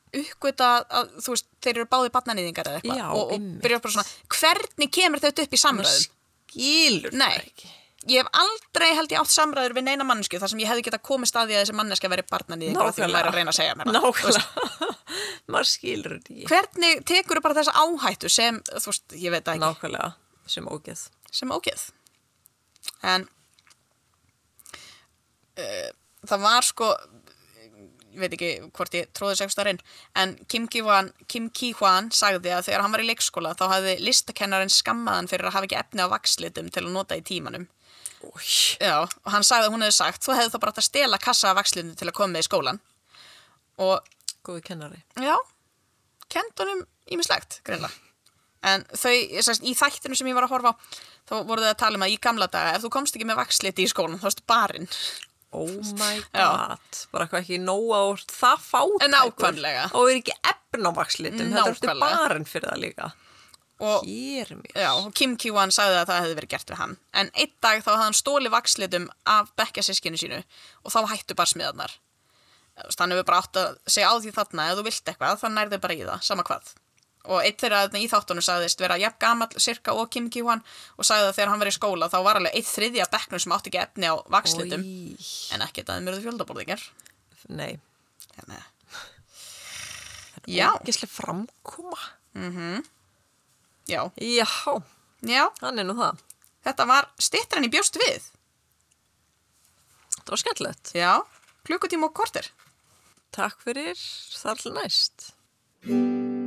Speaker 1: uppgöta að, þú veist, þeir eru báði barnanýðingar eða eitthvað
Speaker 2: Já,
Speaker 1: og, og
Speaker 2: einmitt.
Speaker 1: byrjar bara svona, hvernig kemur þetta upp í samræðum?
Speaker 2: skilur það
Speaker 1: Nei,
Speaker 2: ekki.
Speaker 1: ég hef aldrei held ég átt samræður við neina mannesku þar sem ég hefði getað komið staði að þessi manneska veri barnan í því hún væri að reyna að segja mér það. Þú veist,
Speaker 2: Nákvæmlega. Maður skilur þetta ekki.
Speaker 1: Hvernig tekur bara þessa áhættu sem, þú veist, ég veit það ekki,
Speaker 2: Nákvæmlega, sem ógeð.
Speaker 1: sem ógeð? En uh, það var sko, ég veit ekki hvort ég tróði sextarinn, en Kim Ki-hwan Kim Ki sagði að þegar hann var í leikskóla þá hafði listakennarinn skammaðan fyrir að hafa ekki efni á vakslitum til að nota í tímanum.
Speaker 2: Új.
Speaker 1: Já, og hann sagði að hún hefði sagt þú hefði þá bara átt að stela kassa af vakslinu til að koma með í skólan og
Speaker 2: Góði kennari.
Speaker 1: já, kent honum ímislegt, greinlega en þau, sérst, í þættinu sem ég var að horfa á þá voru þau að tala um að í gamla daga ef þú komst ekki með vaksliti í skólan þá varstu barinn
Speaker 2: Oh my
Speaker 1: Já.
Speaker 2: god. Bara eitthvað ekki nóga og það fátækur.
Speaker 1: Nákvæmlega.
Speaker 2: Og er ekki efn á vakslitum. Þetta er eftir
Speaker 1: Nákvæmlega.
Speaker 2: barinn fyrir það líka.
Speaker 1: og
Speaker 2: Hér mér.
Speaker 1: já, og Kim Ki-wan sagði að það hefði verið gert við hann en einn dag þá hafði hann stóli vakslitum af bekkja sískinu sínu og þá hættu bara smiðarnar þannig við bara átt að segja á því þarna ef þú vilt eitthvað, þá nærðu bara í það, sama hvað og einn þeirra þarna í þáttunum sagðist vera jafn gamall, sirka og Kim Ki-wan og sagði að þegar hann var í skóla þá var alveg einn þriðja bekknum sem átti ekki efni á vakslitum
Speaker 2: Oj.
Speaker 1: en ekkert að þeim eruðu fjöldaborðingar
Speaker 2: Nei.
Speaker 1: þannig að, Já.
Speaker 2: Ógeðslega framkoma.
Speaker 1: já,
Speaker 2: Já,
Speaker 1: já
Speaker 2: hann er nú það.
Speaker 1: þetta var stittra en ég bjóst við
Speaker 2: Þetta var skemmtilegt.
Speaker 1: já, klukkutíma og kortir
Speaker 2: Takk fyrir. Það er alltaf næst.